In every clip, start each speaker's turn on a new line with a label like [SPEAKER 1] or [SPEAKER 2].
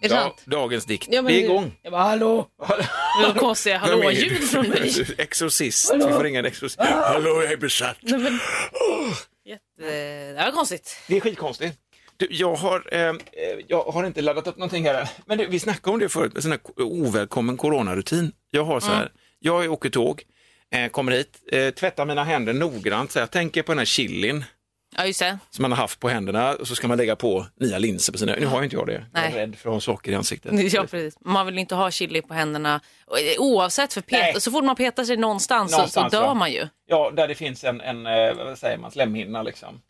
[SPEAKER 1] Är det
[SPEAKER 2] Ja,
[SPEAKER 1] sant?
[SPEAKER 2] dagens dikt.
[SPEAKER 1] Ja, men
[SPEAKER 2] Vi är
[SPEAKER 1] hur-
[SPEAKER 2] igång.
[SPEAKER 1] Jag bara, hallå? Det var konstiga
[SPEAKER 2] Vem är
[SPEAKER 1] hallå-ljud
[SPEAKER 2] du?
[SPEAKER 1] från mig.
[SPEAKER 2] Exorcist. Vi får ringa en exorcist. Hallå, jag är besatt.
[SPEAKER 1] Nej, men... Jätte... eh, Det var konstigt.
[SPEAKER 2] Det är skitkonstigt. Du, jag, har, eh, eh, jag har inte laddat upp någonting här än. Men du, vi snackade om det förut, en sån här ko- ovälkommen coronarutin. Jag har så här, jag åker tåg, eh, kommer hit, eh, tvättar mina händer noggrant. Så här, jag tänker på den här chilin
[SPEAKER 1] Ja, just det.
[SPEAKER 2] som man har haft på händerna och så ska man lägga på nya linser på sina Nu har ju inte jag det. Jag är
[SPEAKER 1] Nej.
[SPEAKER 2] rädd för att ha saker i ansiktet.
[SPEAKER 1] Ja, precis. Man vill inte ha chili på händerna Och, eh, oavsett för pet...
[SPEAKER 2] Nej.
[SPEAKER 1] så fort man petar sig någonstans, så-
[SPEAKER 2] Någonstans,
[SPEAKER 1] så dör
[SPEAKER 2] va?
[SPEAKER 1] man ju.
[SPEAKER 2] Ja, där det finns en, en eh, vad säger man, slemhinna liksom.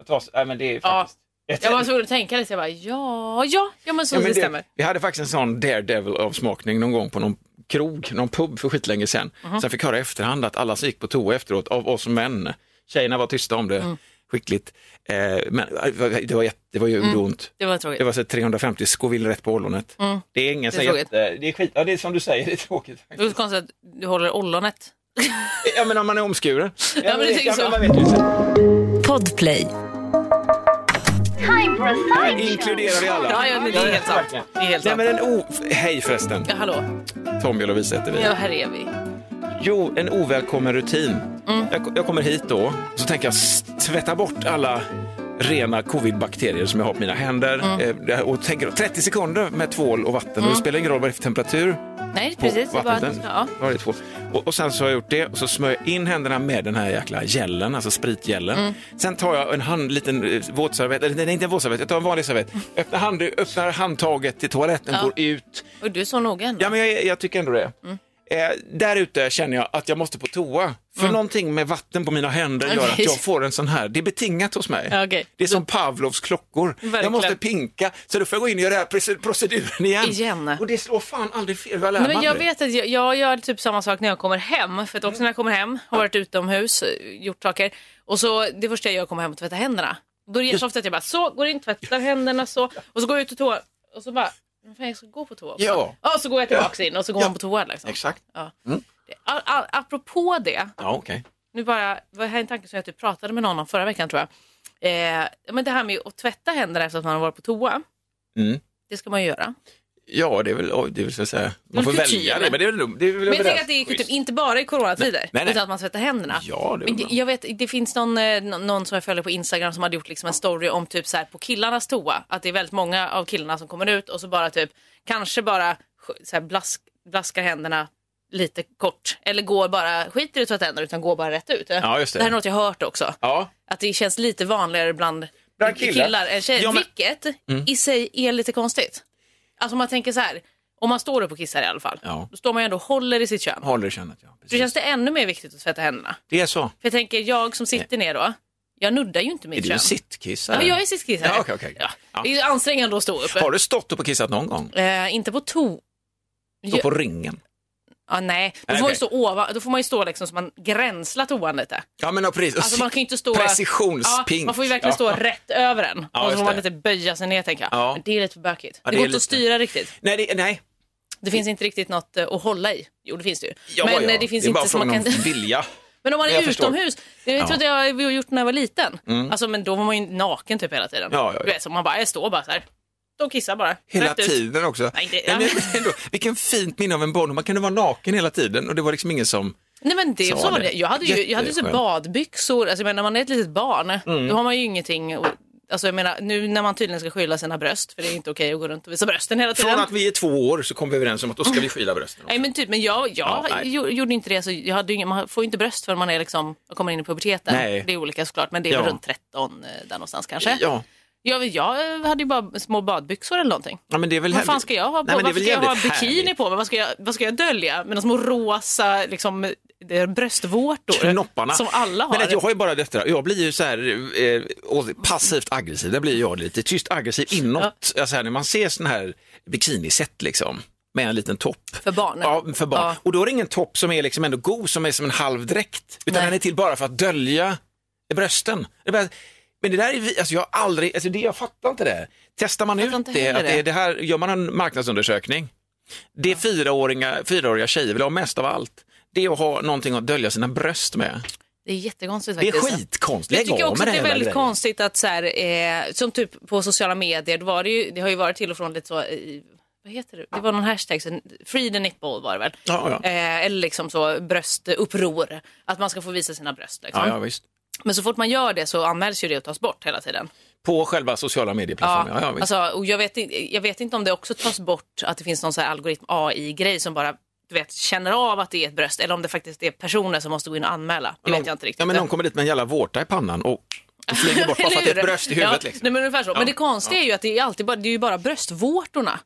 [SPEAKER 2] Att ta sig- nej, men det är faktiskt...
[SPEAKER 1] Jag var tvungen att tänka lite, jag bara ja, ja, ja men så
[SPEAKER 2] Ja, men
[SPEAKER 1] det
[SPEAKER 2] det-
[SPEAKER 1] stämmer.
[SPEAKER 2] Vi hade faktiskt en sån daredevil-avsmakning någon gång på någon krog, någon pub för skitlänge sedan.
[SPEAKER 1] Mhm.
[SPEAKER 2] Sen fick jag höra i efterhand att alla som gick på toa efteråt, av oss män, tjejerna var tysta om det,
[SPEAKER 1] Mm.
[SPEAKER 2] skickligt. Eh, men det var, det var, jätte- det var ju
[SPEAKER 1] Mm.
[SPEAKER 2] ont.
[SPEAKER 1] Det var tråkigt.
[SPEAKER 2] Det var så 350 Scoville rätt på ollonet. Det är ingen
[SPEAKER 1] Mm. Det är
[SPEAKER 2] som
[SPEAKER 1] tråkigt. Mm.
[SPEAKER 2] jätte... Det är skit... Ja, det är som du säger, det är tråkigt.
[SPEAKER 1] Det var konstigt att du håller ollonet.
[SPEAKER 2] ja, men om man är omskuren. Ja,
[SPEAKER 1] men det är så. Mm.
[SPEAKER 2] man vet ju.
[SPEAKER 3] Podplay.
[SPEAKER 4] time for a
[SPEAKER 2] Här
[SPEAKER 4] side show.
[SPEAKER 2] inkluderar vi alla.
[SPEAKER 1] Ja, ja, men det är helt sant.
[SPEAKER 2] verkligen.
[SPEAKER 1] Det är helt
[SPEAKER 2] Nej,
[SPEAKER 1] sant.
[SPEAKER 2] men en o... Hej förresten,
[SPEAKER 1] Ja, hallå.
[SPEAKER 2] Tommy och Lovisa heter vi.
[SPEAKER 1] Ja, här är vi.
[SPEAKER 2] Jo, en ovälkommen rutin.
[SPEAKER 1] Mm.
[SPEAKER 2] Jag, jag kommer hit då, så tänker jag s- tvätta bort alla rena covidbakterier som jag har på mina händer.
[SPEAKER 1] Mm.
[SPEAKER 2] Eh, det- och tänker 30 sekunder med tvål och vatten. Och det spelar ingen roll vad det är för temperatur
[SPEAKER 1] Nej,
[SPEAKER 2] på
[SPEAKER 1] Mm. precis. det är bara att du
[SPEAKER 2] vattnet.
[SPEAKER 1] ska- Ja.
[SPEAKER 2] Bara det tvål. Och, och sen så har jag gjort det och så smörjer jag in händerna med den här jäkla gelen, alltså spritgelen.
[SPEAKER 1] Mm.
[SPEAKER 2] Sen tar jag en hand, liten eh, våtservett, eller nej, inte en våtservett, jag tar en vanlig servett.
[SPEAKER 1] Mm.
[SPEAKER 2] Öppnar, hand, öppnar handtaget till toaletten, går ut,
[SPEAKER 1] Och du är så noga ändå.
[SPEAKER 2] Ja, men jag, jag tycker ändå det. Eh, där ute känner jag att jag måste på toa. För
[SPEAKER 1] Mm.
[SPEAKER 2] någonting med vatten på mina händer gör att
[SPEAKER 1] Okej.
[SPEAKER 2] jag får en sån här, det är betingat hos mig.
[SPEAKER 1] Ja, okej.
[SPEAKER 2] Det är som Pavlovs klockor.
[SPEAKER 1] Verkligen.
[SPEAKER 2] Jag måste pinka, så då får jag gå in och göra den här proce- proceduren igen.
[SPEAKER 1] Igen.
[SPEAKER 2] Och det slår fan aldrig fel, vad lär
[SPEAKER 1] Nej, men
[SPEAKER 2] man
[SPEAKER 1] jag
[SPEAKER 2] dig?
[SPEAKER 1] vet att jag, jag gör typ samma sak när jag kommer hem. För att också när jag kommer hem, har varit utomhus, eh, gjort saker. Och så det första jag gör kommer hem och tvätta händerna. Då är det så ofta att jag bara så, går in, tvättar händerna så. Och så går jag ut på toa och så bara, men fan jag ska gå på toa också.
[SPEAKER 2] Ja.
[SPEAKER 1] Och så går jag tillbaka in och så går
[SPEAKER 2] Ja.
[SPEAKER 1] man på toa liksom.
[SPEAKER 2] Exakt.
[SPEAKER 1] Ja. Det- A, a, apropå det,
[SPEAKER 2] Ja, okej.
[SPEAKER 1] nu bara, var här en tanke som jag typ pratade med någon om förra veckan tror jag. Eh, men det här med att tvätta händerna efter att man har varit på toa.
[SPEAKER 2] Mm.
[SPEAKER 1] Det ska man ju göra.
[SPEAKER 2] Ja, det är väl, oj, det är väl så att säga, man får
[SPEAKER 1] kutym.
[SPEAKER 2] välja det, men det är väl det är väl
[SPEAKER 1] Men jag
[SPEAKER 2] överens.
[SPEAKER 1] tänker att det är typ- kutym,
[SPEAKER 2] Schysst.
[SPEAKER 1] inte bara i coronatider,
[SPEAKER 2] Nej, nej, nej.
[SPEAKER 1] utan att man tvättar händerna.
[SPEAKER 2] Ja, det är
[SPEAKER 1] Men
[SPEAKER 2] väl
[SPEAKER 1] det, jag vet, det finns någon, eh, nå- någon som jag följer på Instagram som hade gjort liksom en story om typ så här på killarnas toa. Att det är väldigt många av killarna som kommer ut och så bara typ, kanske bara sk- så här blask, blaskar händerna lite kort. Eller går bara, skiter i att tvätta händerna utan går bara rätt ut.
[SPEAKER 2] Ja, just det.
[SPEAKER 1] här är något jag har hört också.
[SPEAKER 2] Ja,
[SPEAKER 1] Att det känns lite vanligare bland,
[SPEAKER 2] Bland killar.
[SPEAKER 1] än tjejer.
[SPEAKER 2] Ja, men- Mm.
[SPEAKER 1] Vilket i sig är lite konstigt. Alltså om man tänker så här, om man står upp och kissar i alla fall.
[SPEAKER 2] Ja.
[SPEAKER 1] Då står man ju ändå och håller i sitt kön.
[SPEAKER 2] håller i könet. Ja,
[SPEAKER 1] Då känns
[SPEAKER 2] precis.
[SPEAKER 1] det ännu mer viktigt att tvätta händerna.
[SPEAKER 2] Det är så.
[SPEAKER 1] För jag tänker, jag som sitter ner då, jag nuddar ju
[SPEAKER 2] Är
[SPEAKER 1] inte mitt
[SPEAKER 2] du
[SPEAKER 1] kön.
[SPEAKER 2] en sittkissare?
[SPEAKER 1] Ja, jag är sittkissare.
[SPEAKER 2] Ja, okej, okej.
[SPEAKER 1] Ja.
[SPEAKER 2] Ja.
[SPEAKER 1] Det är ju ansträngande att stå upp.
[SPEAKER 2] Har du stått upp och kissat någon gång?
[SPEAKER 1] Eh, inte på to...
[SPEAKER 2] Stå
[SPEAKER 1] Ja.
[SPEAKER 2] på ringen?
[SPEAKER 1] Ja, nej, då får,
[SPEAKER 2] Nej,
[SPEAKER 1] man ju
[SPEAKER 2] okej.
[SPEAKER 1] stå ovan, då får man ju stå liksom så man gränslar toan lite.
[SPEAKER 2] Ja, men ja, precis. Och
[SPEAKER 1] Alltså man kan ju inte stå...
[SPEAKER 2] Precisionspink.
[SPEAKER 1] Ja, man får ju verkligen
[SPEAKER 2] Ja.
[SPEAKER 1] stå rätt över den.
[SPEAKER 2] Ja,
[SPEAKER 1] och så
[SPEAKER 2] just
[SPEAKER 1] får man
[SPEAKER 2] det.
[SPEAKER 1] lite böja sig ner tänker jag.
[SPEAKER 2] Ja.
[SPEAKER 1] Men det är lite för bökigt.
[SPEAKER 2] Ja, det
[SPEAKER 1] det går
[SPEAKER 2] är
[SPEAKER 1] inte att
[SPEAKER 2] lite-
[SPEAKER 1] styra riktigt.
[SPEAKER 2] Nej, det, nej.
[SPEAKER 1] Det finns inte riktigt något eh, att hålla i. Jo, det finns det ju.
[SPEAKER 2] Ja,
[SPEAKER 1] Men
[SPEAKER 2] ja.
[SPEAKER 1] eh, det finns
[SPEAKER 2] det är
[SPEAKER 1] inte
[SPEAKER 2] bara
[SPEAKER 1] så man
[SPEAKER 2] frågan om
[SPEAKER 1] kan...
[SPEAKER 2] vilja.
[SPEAKER 1] Men om man är
[SPEAKER 2] Men jag förstår.
[SPEAKER 1] utomhus, det
[SPEAKER 2] Ja. Mm.
[SPEAKER 1] trodde jag vi har gjort när jag var liten. Alltså, men då var man ju naken typ hela tiden.
[SPEAKER 2] Ja, ja, ja.
[SPEAKER 1] Du vet, så man bara, jag står bara så här. Står och kissar bara.
[SPEAKER 2] Hela
[SPEAKER 1] Rätt ut.
[SPEAKER 2] tiden också.
[SPEAKER 1] Nej, det-
[SPEAKER 2] Nej, men ändå, vilken fint minne av en barndom. Man kunde vara naken hela tiden och det var liksom ingen som...
[SPEAKER 1] Nej men det
[SPEAKER 2] Sa
[SPEAKER 1] så var
[SPEAKER 2] det.
[SPEAKER 1] det. Jag hade ju, jag hade ju så
[SPEAKER 2] Jätteskönt. Mm.
[SPEAKER 1] badbyxor, alltså, jag menar, när man är ett litet barn då har man ju ingenting. att- Alltså jag menar nu när man tydligen ska skylla sina bröst för det är inte okej att gå runt och visa brösten hela tiden.
[SPEAKER 2] Från att vi är två år så kom vi överens om att då ska vi skyla brösten.
[SPEAKER 1] Nej men typ, men jag, jag
[SPEAKER 2] Ja, nej.
[SPEAKER 1] gjo- gjorde inte det. Så jag hade ju ingen, man får ju inte bröst förrän man är liksom, och kommer in i puberteten.
[SPEAKER 2] Nej.
[SPEAKER 1] Det är olika såklart men det är väl
[SPEAKER 2] Ja.
[SPEAKER 1] runt 13 eh, där någonstans kanske.
[SPEAKER 2] Ja.
[SPEAKER 1] Jag, jag hade ju bara små badbyxor eller någonting.
[SPEAKER 2] ja, men det är väl
[SPEAKER 1] Vad fan
[SPEAKER 2] härligt.
[SPEAKER 1] ska jag ha på?
[SPEAKER 2] Nej, men det är
[SPEAKER 1] Varför
[SPEAKER 2] väl
[SPEAKER 1] ska jag ha
[SPEAKER 2] jävligt
[SPEAKER 1] bikini
[SPEAKER 2] härligt.
[SPEAKER 1] på mig? Vad ska jag, vad ska jag dölja? Med några små rosa liksom, det är bröstvårtor
[SPEAKER 2] Knopparna.
[SPEAKER 1] som alla har.
[SPEAKER 2] Men att jag har ju bara detta, jag blir ju så här eh, och passivt aggressiv, där blir jag lite tyst aggressiv inåt. Alltså här, när man ser sån här bikiniset liksom, med en liten topp.
[SPEAKER 1] För barn?
[SPEAKER 2] Ja, för barn.
[SPEAKER 1] Ja.
[SPEAKER 2] Och då är det ingen topp som är liksom ändå god, som är som en halv dräkt, utan
[SPEAKER 1] Nej.
[SPEAKER 2] den är till bara för att dölja brösten. Det bara, men det där är vi, alltså jag har aldrig, alltså det, jag fattar inte det. här. Testar man
[SPEAKER 1] Fattar
[SPEAKER 2] ut
[SPEAKER 1] inte
[SPEAKER 2] det,
[SPEAKER 1] heller
[SPEAKER 2] att det,
[SPEAKER 1] det.
[SPEAKER 2] det här, gör man en marknadsundersökning, det fyraåringar, fyraåriga tjejer vill ha mest av allt, det är att ha någonting att dölja sina bröst med.
[SPEAKER 1] Det är jättekonstigt
[SPEAKER 2] Det är
[SPEAKER 1] faktiskt.
[SPEAKER 2] skitkonstigt,
[SPEAKER 1] Jag
[SPEAKER 2] lägg
[SPEAKER 1] tycker
[SPEAKER 2] av
[SPEAKER 1] också
[SPEAKER 2] med
[SPEAKER 1] att det är
[SPEAKER 2] hela
[SPEAKER 1] väldigt
[SPEAKER 2] grejen.
[SPEAKER 1] konstigt att så här, eh, som typ på sociala medier, då var det, ju, det har ju varit till och från lite så, i, vad heter det, det var någon hashtag, så, free the nipple var det väl?
[SPEAKER 2] Ja, ja.
[SPEAKER 1] Eh, eller liksom så bröstuppror, att man ska få visa sina bröst. Liksom.
[SPEAKER 2] Ja, ja, visst.
[SPEAKER 1] Men så fort man gör det så anmäls ju det och tas bort hela tiden.
[SPEAKER 2] På själva sociala medieplattformen. Ja, ja, visst.
[SPEAKER 1] alltså, och jag, vet, in- jag vet inte om det också tas bort, att det finns någon så här algoritm AI-grej som bara du vet, känner av att det är ett bröst eller om det faktiskt är personer som måste gå in och anmäla. Det vet jag inte riktigt.
[SPEAKER 2] Ja, men någon kommer dit med en jävla vårta i pannan och och flyger bort bara för att det är ett
[SPEAKER 1] Eller hur?
[SPEAKER 2] bröst i huvudet.
[SPEAKER 1] Ja,
[SPEAKER 2] liksom.
[SPEAKER 1] nej, men ungefär så.
[SPEAKER 2] Ja,
[SPEAKER 1] Men det konstiga är ju att det är, alltid bara, det är ju bara bröstvårtorna.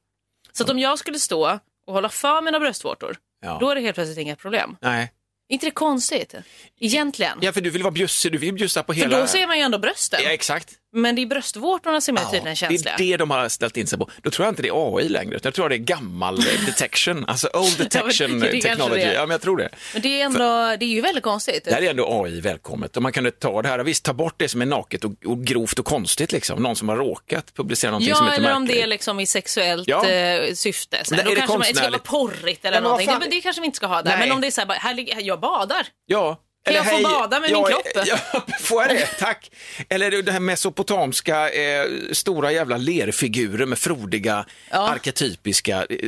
[SPEAKER 1] Så att om jag skulle stå och hålla för mina bröstvårtor,
[SPEAKER 2] Ja.
[SPEAKER 1] då är det helt plötsligt inga problem.
[SPEAKER 2] Nej.
[SPEAKER 1] inte det konstigt? Egentligen.
[SPEAKER 2] Ja, för du vill vara bjussig, du vill bjussa på
[SPEAKER 1] För
[SPEAKER 2] hela...
[SPEAKER 1] då ser man ju ändå brösten.
[SPEAKER 2] Ja, exakt.
[SPEAKER 1] Men det är bröstvårtorna som är
[SPEAKER 2] Ja,
[SPEAKER 1] tydligen
[SPEAKER 2] det
[SPEAKER 1] känsliga.
[SPEAKER 2] är det de har ställt in sig på. Då tror jag inte det är AI längre, utan jag tror det är gammal eh, detection, alltså old
[SPEAKER 1] Ja,
[SPEAKER 2] detection
[SPEAKER 1] men det är kanske
[SPEAKER 2] technology.
[SPEAKER 1] det är.
[SPEAKER 2] Ja, men jag tror det.
[SPEAKER 1] Men det är, ändå, det är ju väldigt konstigt.
[SPEAKER 2] Där är ändå AI välkommet. Och man kunde ta det här, visst ta bort det som är naket och, och grovt och konstigt, liksom. någon som har råkat publicera någonting som
[SPEAKER 1] Ja,
[SPEAKER 2] inte
[SPEAKER 1] eller om
[SPEAKER 2] märkligt.
[SPEAKER 1] det är liksom i sexuellt
[SPEAKER 2] Ja.
[SPEAKER 1] eh, syfte. Så
[SPEAKER 2] Men
[SPEAKER 1] här,
[SPEAKER 2] är
[SPEAKER 1] då
[SPEAKER 2] det
[SPEAKER 1] kanske man, det ska vara
[SPEAKER 2] konstnärligt?
[SPEAKER 1] porrigt eller
[SPEAKER 2] Ja, men vad
[SPEAKER 1] någonting.
[SPEAKER 2] fan-
[SPEAKER 1] Det, men det kanske vi inte ska ha där.
[SPEAKER 2] Nej.
[SPEAKER 1] Men om det är så här, bara, här ligger, jag badar.
[SPEAKER 2] Ja.
[SPEAKER 1] Kan jag få bada med min
[SPEAKER 2] jag-
[SPEAKER 1] kropp?
[SPEAKER 2] Ja, får jag det? Tack. Eller det här mesopotamiska eh, stora jävla lerfigurer med frodiga arketypiska eh,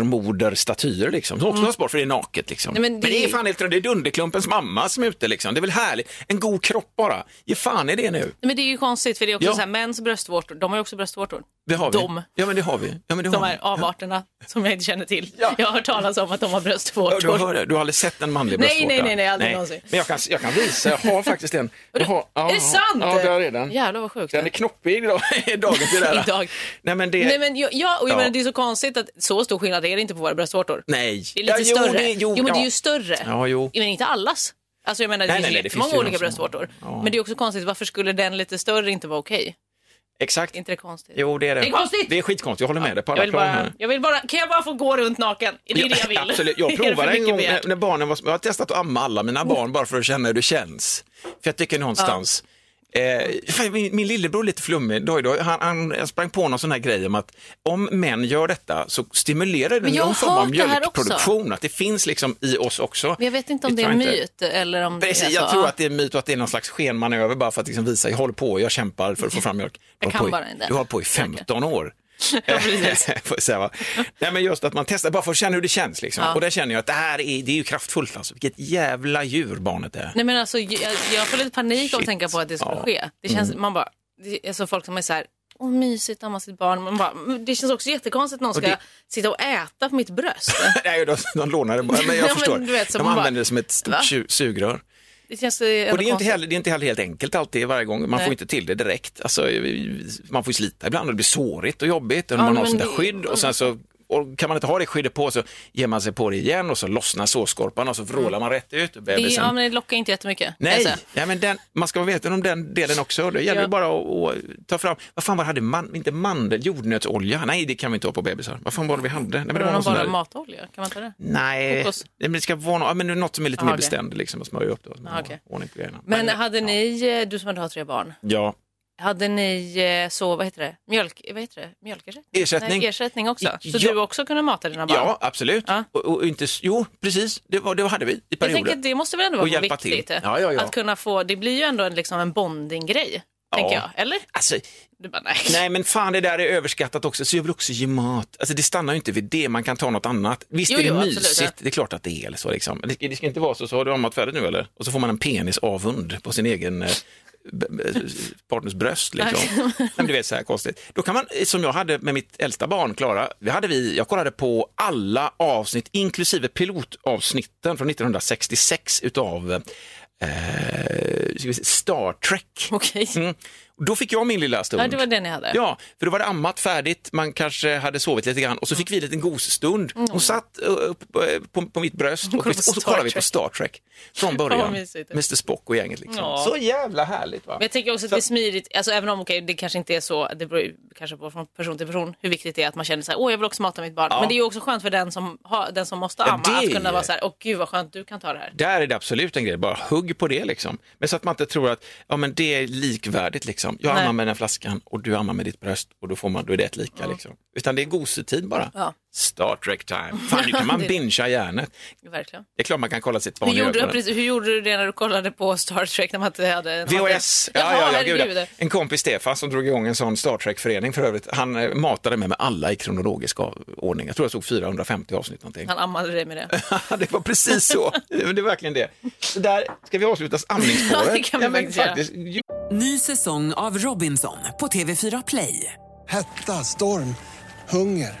[SPEAKER 2] urmoderstatyer liksom. Som också tas bort för det är naket liksom.
[SPEAKER 1] Mm. Nej, men
[SPEAKER 2] men, det...
[SPEAKER 1] det-
[SPEAKER 2] är fan helt det är Dunderklumpens mamma som är ute liksom. Det är väl härligt. En god kropp bara. Ge fan i det nu.
[SPEAKER 1] Men det är ju konstigt för det är också
[SPEAKER 2] Ja.
[SPEAKER 1] så här, mäns bröstvårtor, de har ju också bröstvårtor.
[SPEAKER 2] Det har vi.
[SPEAKER 1] De.
[SPEAKER 2] Ja men det har vi. Ja, men det
[SPEAKER 1] De
[SPEAKER 2] har
[SPEAKER 1] här
[SPEAKER 2] vi.
[SPEAKER 1] avarterna som jag inte känner till. Jag har hört talas om att de har
[SPEAKER 2] Ja, Du,
[SPEAKER 1] bröstvårtor.
[SPEAKER 2] hör det. du har aldrig sett en manlig
[SPEAKER 1] Nej,
[SPEAKER 2] bröstvårta?
[SPEAKER 1] nej, nej, nej, aldrig någonsin.
[SPEAKER 2] Men jag kan, jag kan visa, jag har faktiskt en. Jag har, ja,
[SPEAKER 1] är det sant?
[SPEAKER 2] Ja, där är den.
[SPEAKER 1] Jävlar vad sjukt.
[SPEAKER 2] Den är knoppig idag, dagen till det här.
[SPEAKER 1] Idag.
[SPEAKER 2] Nej men det...
[SPEAKER 1] Nej, men jag, jag, och jag
[SPEAKER 2] Ja.
[SPEAKER 1] menar, det är så konstigt att så stor skillnad är det inte på våra bröstvårtor.
[SPEAKER 2] Nej.
[SPEAKER 1] Det är lite
[SPEAKER 2] Ja, jo,
[SPEAKER 1] större.
[SPEAKER 2] det-
[SPEAKER 1] jo, men det är
[SPEAKER 2] ja.
[SPEAKER 1] ju större.
[SPEAKER 2] Ja, jo.
[SPEAKER 1] Men inte allas. Alltså jag menar, det
[SPEAKER 2] Nej,
[SPEAKER 1] finns
[SPEAKER 2] nej,
[SPEAKER 1] ju
[SPEAKER 2] nej, det
[SPEAKER 1] jättemånga
[SPEAKER 2] finns ju
[SPEAKER 1] olika
[SPEAKER 2] de som-
[SPEAKER 1] bröstvårtor.
[SPEAKER 2] Ja.
[SPEAKER 1] Men det är också konstigt, varför skulle den lite större inte vara okej?
[SPEAKER 2] Exakt.
[SPEAKER 1] Är inte det konstigt?
[SPEAKER 2] Jo, det är det.
[SPEAKER 1] Det är konstigt!
[SPEAKER 2] Det är skitkonstigt, jag håller med dig på
[SPEAKER 1] jag,
[SPEAKER 2] alla
[SPEAKER 1] vill
[SPEAKER 2] plan
[SPEAKER 1] bara,
[SPEAKER 2] här.
[SPEAKER 1] jag vill bara, kan jag bara få gå runt naken? Det är det jag vill.
[SPEAKER 2] Absolut.
[SPEAKER 1] Är
[SPEAKER 2] Jag
[SPEAKER 1] det för
[SPEAKER 2] provade en
[SPEAKER 1] mycket
[SPEAKER 2] gång
[SPEAKER 1] begärt?
[SPEAKER 2] när, när barnen var små. Jag har testat att amma alla mina barn bara för att känna hur det känns. För jag tycker någonstans, eh, fan, min, min lillebror är lite flummig, doj, doj, han, han sprang på någon sån här grej om att om män gör detta så stimulerar det
[SPEAKER 1] Men jag
[SPEAKER 2] någon
[SPEAKER 1] har
[SPEAKER 2] form av
[SPEAKER 1] hört det här också.
[SPEAKER 2] mjölkproduktion, att det finns liksom i oss också.
[SPEAKER 1] Men jag vet inte om
[SPEAKER 2] Vi
[SPEAKER 1] det är
[SPEAKER 2] tror
[SPEAKER 1] en myt eller om det är
[SPEAKER 2] Precis,
[SPEAKER 1] så.
[SPEAKER 2] jag tror att det är en myt och att det är någon slags skenmanöver bara för att liksom visa, jag håller på, jag kämpar för att få fram mjölk. Du
[SPEAKER 1] Jag
[SPEAKER 2] har
[SPEAKER 1] kan
[SPEAKER 2] på i-
[SPEAKER 1] bara inte.
[SPEAKER 2] Du har på i 15 år.
[SPEAKER 1] Ja, precis.
[SPEAKER 2] Får jag säga, va? Nej, men just att man testar, bara för att känna hur det känns. Liksom.
[SPEAKER 1] Ja.
[SPEAKER 2] Och där känner jag att det här är, det är ju kraftfullt. Alltså. Vilket jävla djur barnet är.
[SPEAKER 1] Nej men alltså jag, jag får lite panik av att
[SPEAKER 2] Shit.
[SPEAKER 1] tänka på att det skulle
[SPEAKER 2] Ja. Mm.
[SPEAKER 1] ske. Det känns, man bara, det är så folk som är så här, åh mysigt amma sitt barn. Man bara, "Men det känns också jättekonstigt att någon ska
[SPEAKER 2] det-
[SPEAKER 1] sitta och äta på mitt bröst.
[SPEAKER 2] Nej, de, de lånar det bara. Men
[SPEAKER 1] Ja,
[SPEAKER 2] jag
[SPEAKER 1] men
[SPEAKER 2] förstår.
[SPEAKER 1] du vet, så
[SPEAKER 2] de
[SPEAKER 1] man bara-
[SPEAKER 2] använder det som ett stort
[SPEAKER 1] Va?
[SPEAKER 2] su- sugrör.
[SPEAKER 1] Det känns eh, ändå
[SPEAKER 2] Och det är, ju inte
[SPEAKER 1] konstigt.
[SPEAKER 2] heller, det är inte heller helt enkelt alltid varje gång. Man
[SPEAKER 1] Nej.
[SPEAKER 2] får inte till det direkt. Alltså, man får ju slita ibland och det blir sårigt och jobbigt. Och
[SPEAKER 1] Ja,
[SPEAKER 2] man har
[SPEAKER 1] men
[SPEAKER 2] sånt där
[SPEAKER 1] det-
[SPEAKER 2] skydd och sen så och kan man inte ha det skyddet på så ger man sig på det igen och så lossnar sårskorpan och så vrålar man rätt ut och
[SPEAKER 1] Mm. det,
[SPEAKER 2] bebisen.
[SPEAKER 1] ja, men det lockar inte jättemycket. kan jag
[SPEAKER 2] Nej,
[SPEAKER 1] säga.
[SPEAKER 2] ja, men den, man ska vara veten om den delen också. Det gäller
[SPEAKER 1] Ja.
[SPEAKER 2] ju bara att, att ta fram, vad fan var det hade man, inte mandel, jordnötsolja, nej det kan vi inte ha på bebisar. Vad fan var det vi hade? Nej, men
[SPEAKER 1] Vadå,
[SPEAKER 2] någon
[SPEAKER 1] de
[SPEAKER 2] sån
[SPEAKER 1] bara
[SPEAKER 2] där-
[SPEAKER 1] matolja? Kan man ta det?
[SPEAKER 2] Nej,
[SPEAKER 1] Kokos?
[SPEAKER 2] Nej, men det ska vara något, ja, men något som är lite
[SPEAKER 1] Aha,
[SPEAKER 2] mer
[SPEAKER 1] okej.
[SPEAKER 2] bestämd liksom, och smörja upp det.
[SPEAKER 1] Ah, okej.
[SPEAKER 2] Ordning på grejerna.
[SPEAKER 1] Men hade ni, eh, du som ändå har tre barn,
[SPEAKER 2] ja.
[SPEAKER 1] hade ni eh, så, vad heter det, mjölk, eh, vad heter det? mjölkersättning?
[SPEAKER 2] Ersättning.
[SPEAKER 1] Nej, ersättning också? Så
[SPEAKER 2] Ja.
[SPEAKER 1] du också kunde mata dina barn?
[SPEAKER 2] Ja, absolut.
[SPEAKER 1] Ja.
[SPEAKER 2] Och, och inte, s- jo, precis. Det, var, det hade vi i
[SPEAKER 1] Jag
[SPEAKER 2] perioder.
[SPEAKER 1] tänker att det måste väl ändå vara
[SPEAKER 2] Och hjälpa
[SPEAKER 1] viktigt?
[SPEAKER 2] till.
[SPEAKER 1] eh,
[SPEAKER 2] Ja, ja, ja.
[SPEAKER 1] Att kunna få, det blir ju ändå en, liksom en bonding-grej,
[SPEAKER 2] Ja.
[SPEAKER 1] tänker jag. Eller?
[SPEAKER 2] Alltså,
[SPEAKER 1] Du bara, nej.
[SPEAKER 2] nej, men fan, det där är överskattat också. Så jag vill också ge mat. Alltså, det stannar ju inte vid det. Man kan ta något annat. Visst
[SPEAKER 1] Jo,
[SPEAKER 2] är det
[SPEAKER 1] jo, absolut,
[SPEAKER 2] mysigt. Det är klart att det är. Eller så, liksom. Men det, det ska inte vara så. Så har du ammat färdigt nu eller? Och så får man en penisavund på sin egen eh, b- b- partners bröst. Liksom. Nej, men du vet, så här konstigt. Då kan man, eh, som jag hade med mitt äldsta barn, Klara, vi hade vi, jag kollade på alla avsnitt, inklusive pilotavsnitten från 1966 utav eh, ska vi se, Star Trek.
[SPEAKER 1] Okej.
[SPEAKER 2] Mm. Och Då fick jag min lilla stund.
[SPEAKER 1] Ja, det var det ni hade.
[SPEAKER 2] Ja, för då var det ammat färdigt, man kanske hade sovit lite grann och så fick vi en liten gosstund. Hon satt eh, upp eh, på, på mitt bröst och,
[SPEAKER 1] kollade
[SPEAKER 2] och
[SPEAKER 1] på
[SPEAKER 2] så
[SPEAKER 1] Mm. Star
[SPEAKER 2] kollade vi på
[SPEAKER 1] Trek.
[SPEAKER 2] Star Trek från
[SPEAKER 1] Vad
[SPEAKER 2] början.
[SPEAKER 1] mysigt.
[SPEAKER 2] Mr Spock och gänget liksom.
[SPEAKER 1] Ja.
[SPEAKER 2] Så jävla härligt va?
[SPEAKER 1] Men jag tänker också att det är smidigt, alltså även om okej, det kanske inte är så, det beror ju kanske på från person till person hur viktigt det är att man känner så här, åh jag vill också mata mitt barn. Men det är ju också skönt för den som, har, den som måste amma
[SPEAKER 2] det
[SPEAKER 1] att
[SPEAKER 2] är
[SPEAKER 1] kunna
[SPEAKER 2] ju-
[SPEAKER 1] vara så här, åh gud vad skönt du kan ta det här.
[SPEAKER 2] Där är det absolut en grej, bara hugg på det liksom. Men så att man inte tror att ja, men det är likvärdigt liksom. Jag
[SPEAKER 1] Nej.
[SPEAKER 2] ammar med den här flaskan och du ammar med ditt bröst och då får man, då är det ett lika liksom. Utan det är gosetid bara.
[SPEAKER 1] Ja.
[SPEAKER 2] Star Trek time. Fan, nu kan man
[SPEAKER 1] Det-
[SPEAKER 2] bingea hjärnet.
[SPEAKER 1] Verkligen.
[SPEAKER 2] Det är klart man kan kolla sitt barn
[SPEAKER 1] Hur
[SPEAKER 2] i
[SPEAKER 1] gjorde, du,
[SPEAKER 2] ögonen.
[SPEAKER 1] precis, hur gjorde du det när du kollade på Star Trek när man inte hade... när man inte-
[SPEAKER 2] VHS, ja, ja, ja, gud, ja.
[SPEAKER 1] herregud.
[SPEAKER 2] En kompis Stefan som drog igång en sån Star Trek-förening för övrigt, han eh, matade med mig alla i kronologisk av- ordning. Jag tror jag såg 450 avsnitt någonting.
[SPEAKER 1] Han ammade dig med det.
[SPEAKER 2] det var precis så, Men det är verkligen det. Så där ska vi avsluta amningsspåret.
[SPEAKER 1] Ja, det kan vi
[SPEAKER 2] men
[SPEAKER 1] faktiskt göra.
[SPEAKER 2] ju-
[SPEAKER 5] Ny säsong av Robinson på TV4 Play.
[SPEAKER 6] Hetta, storm, hunger.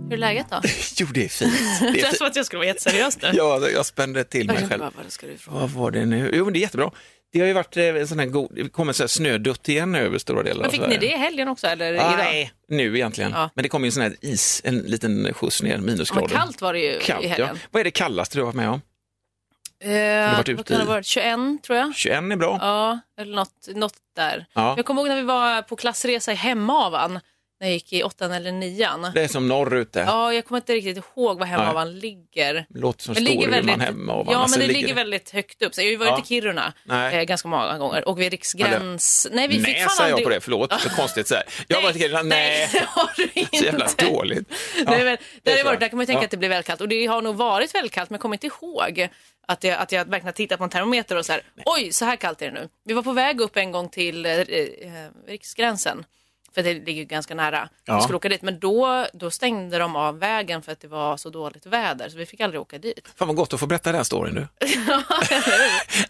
[SPEAKER 1] hur är läget då?
[SPEAKER 2] Jo, det är fint. Det
[SPEAKER 1] Det
[SPEAKER 2] är
[SPEAKER 1] känns
[SPEAKER 2] fint.
[SPEAKER 1] som att jag skulle vara jätteseriös nu.
[SPEAKER 2] Ja, jag spände till mig
[SPEAKER 1] Verkligen
[SPEAKER 2] själv.
[SPEAKER 1] bara, vad ska du ifrån?
[SPEAKER 2] Vad var det nu? Jo, men det är jättebra. Det har ju varit eh, en sån här god, det kommer en sån här snödutt igen över stora delar
[SPEAKER 1] Men fick
[SPEAKER 2] av
[SPEAKER 1] ni
[SPEAKER 2] Sverige.
[SPEAKER 1] det i helgen också eller idag?
[SPEAKER 2] Nej, nu egentligen.
[SPEAKER 1] Ja.
[SPEAKER 2] Men det kom ju en sån här is, en liten skjuts ner,
[SPEAKER 1] Men
[SPEAKER 2] minusgrader.
[SPEAKER 1] kallt var det ju i
[SPEAKER 2] Kallt, ja.
[SPEAKER 1] helgen.
[SPEAKER 2] Vad är det kallaste du har varit med om?
[SPEAKER 1] Eh,
[SPEAKER 2] varit
[SPEAKER 1] vad
[SPEAKER 2] ute
[SPEAKER 1] kan det ha
[SPEAKER 2] i-
[SPEAKER 1] varit? 21 tror jag.
[SPEAKER 2] 21 är bra.
[SPEAKER 1] Ja, eller något, något där.
[SPEAKER 2] Ja.
[SPEAKER 1] Jag kommer ihåg när vi var på klassresa i Hemavan när jag gick i åttan eller nian.
[SPEAKER 2] Det är som norrut där.
[SPEAKER 1] Ja, jag kommer inte riktigt ihåg var Hemavan ligger.
[SPEAKER 2] Låter som
[SPEAKER 1] Men ligger
[SPEAKER 2] Storuman
[SPEAKER 1] väldigt,
[SPEAKER 2] hemma och
[SPEAKER 1] ja,
[SPEAKER 2] annars
[SPEAKER 1] men det ligger,
[SPEAKER 2] Alltså, ligger
[SPEAKER 1] väldigt högt upp. Så jag har ju varit
[SPEAKER 2] Ja.
[SPEAKER 1] i Kiruna
[SPEAKER 2] Nej.
[SPEAKER 1] eh, ganska många gånger och vid Riksgräns. Nej, vi fick
[SPEAKER 2] Nej,
[SPEAKER 1] fan
[SPEAKER 2] säger jag
[SPEAKER 1] aldrig...
[SPEAKER 2] på det. Förlåt, för konstigt så här. Jag har varit i Kiruna, nej.
[SPEAKER 1] det har du inte.
[SPEAKER 2] Så jävla dåligt. Ja,
[SPEAKER 1] Nej,
[SPEAKER 2] är
[SPEAKER 1] men, där, har det
[SPEAKER 2] så.
[SPEAKER 1] varit, där kan man ju tänka
[SPEAKER 2] Ja.
[SPEAKER 1] att det blir väldigt kallt och det har nog varit väldigt kallt men jag kommer inte ihåg att jag, att jag verkligen har tittat på en termometer och så här, oj så här kallt är det nu. Vi var på väg upp en gång till eh, eh, riksgränsen för det ligger ju ganska nära.
[SPEAKER 2] Ja.
[SPEAKER 1] Vi skulle åka dit men då, då stängde de av vägen för att det var så dåligt väder så vi fick aldrig åka dit.
[SPEAKER 2] Fan vad gott att få berätta den här storyn nu.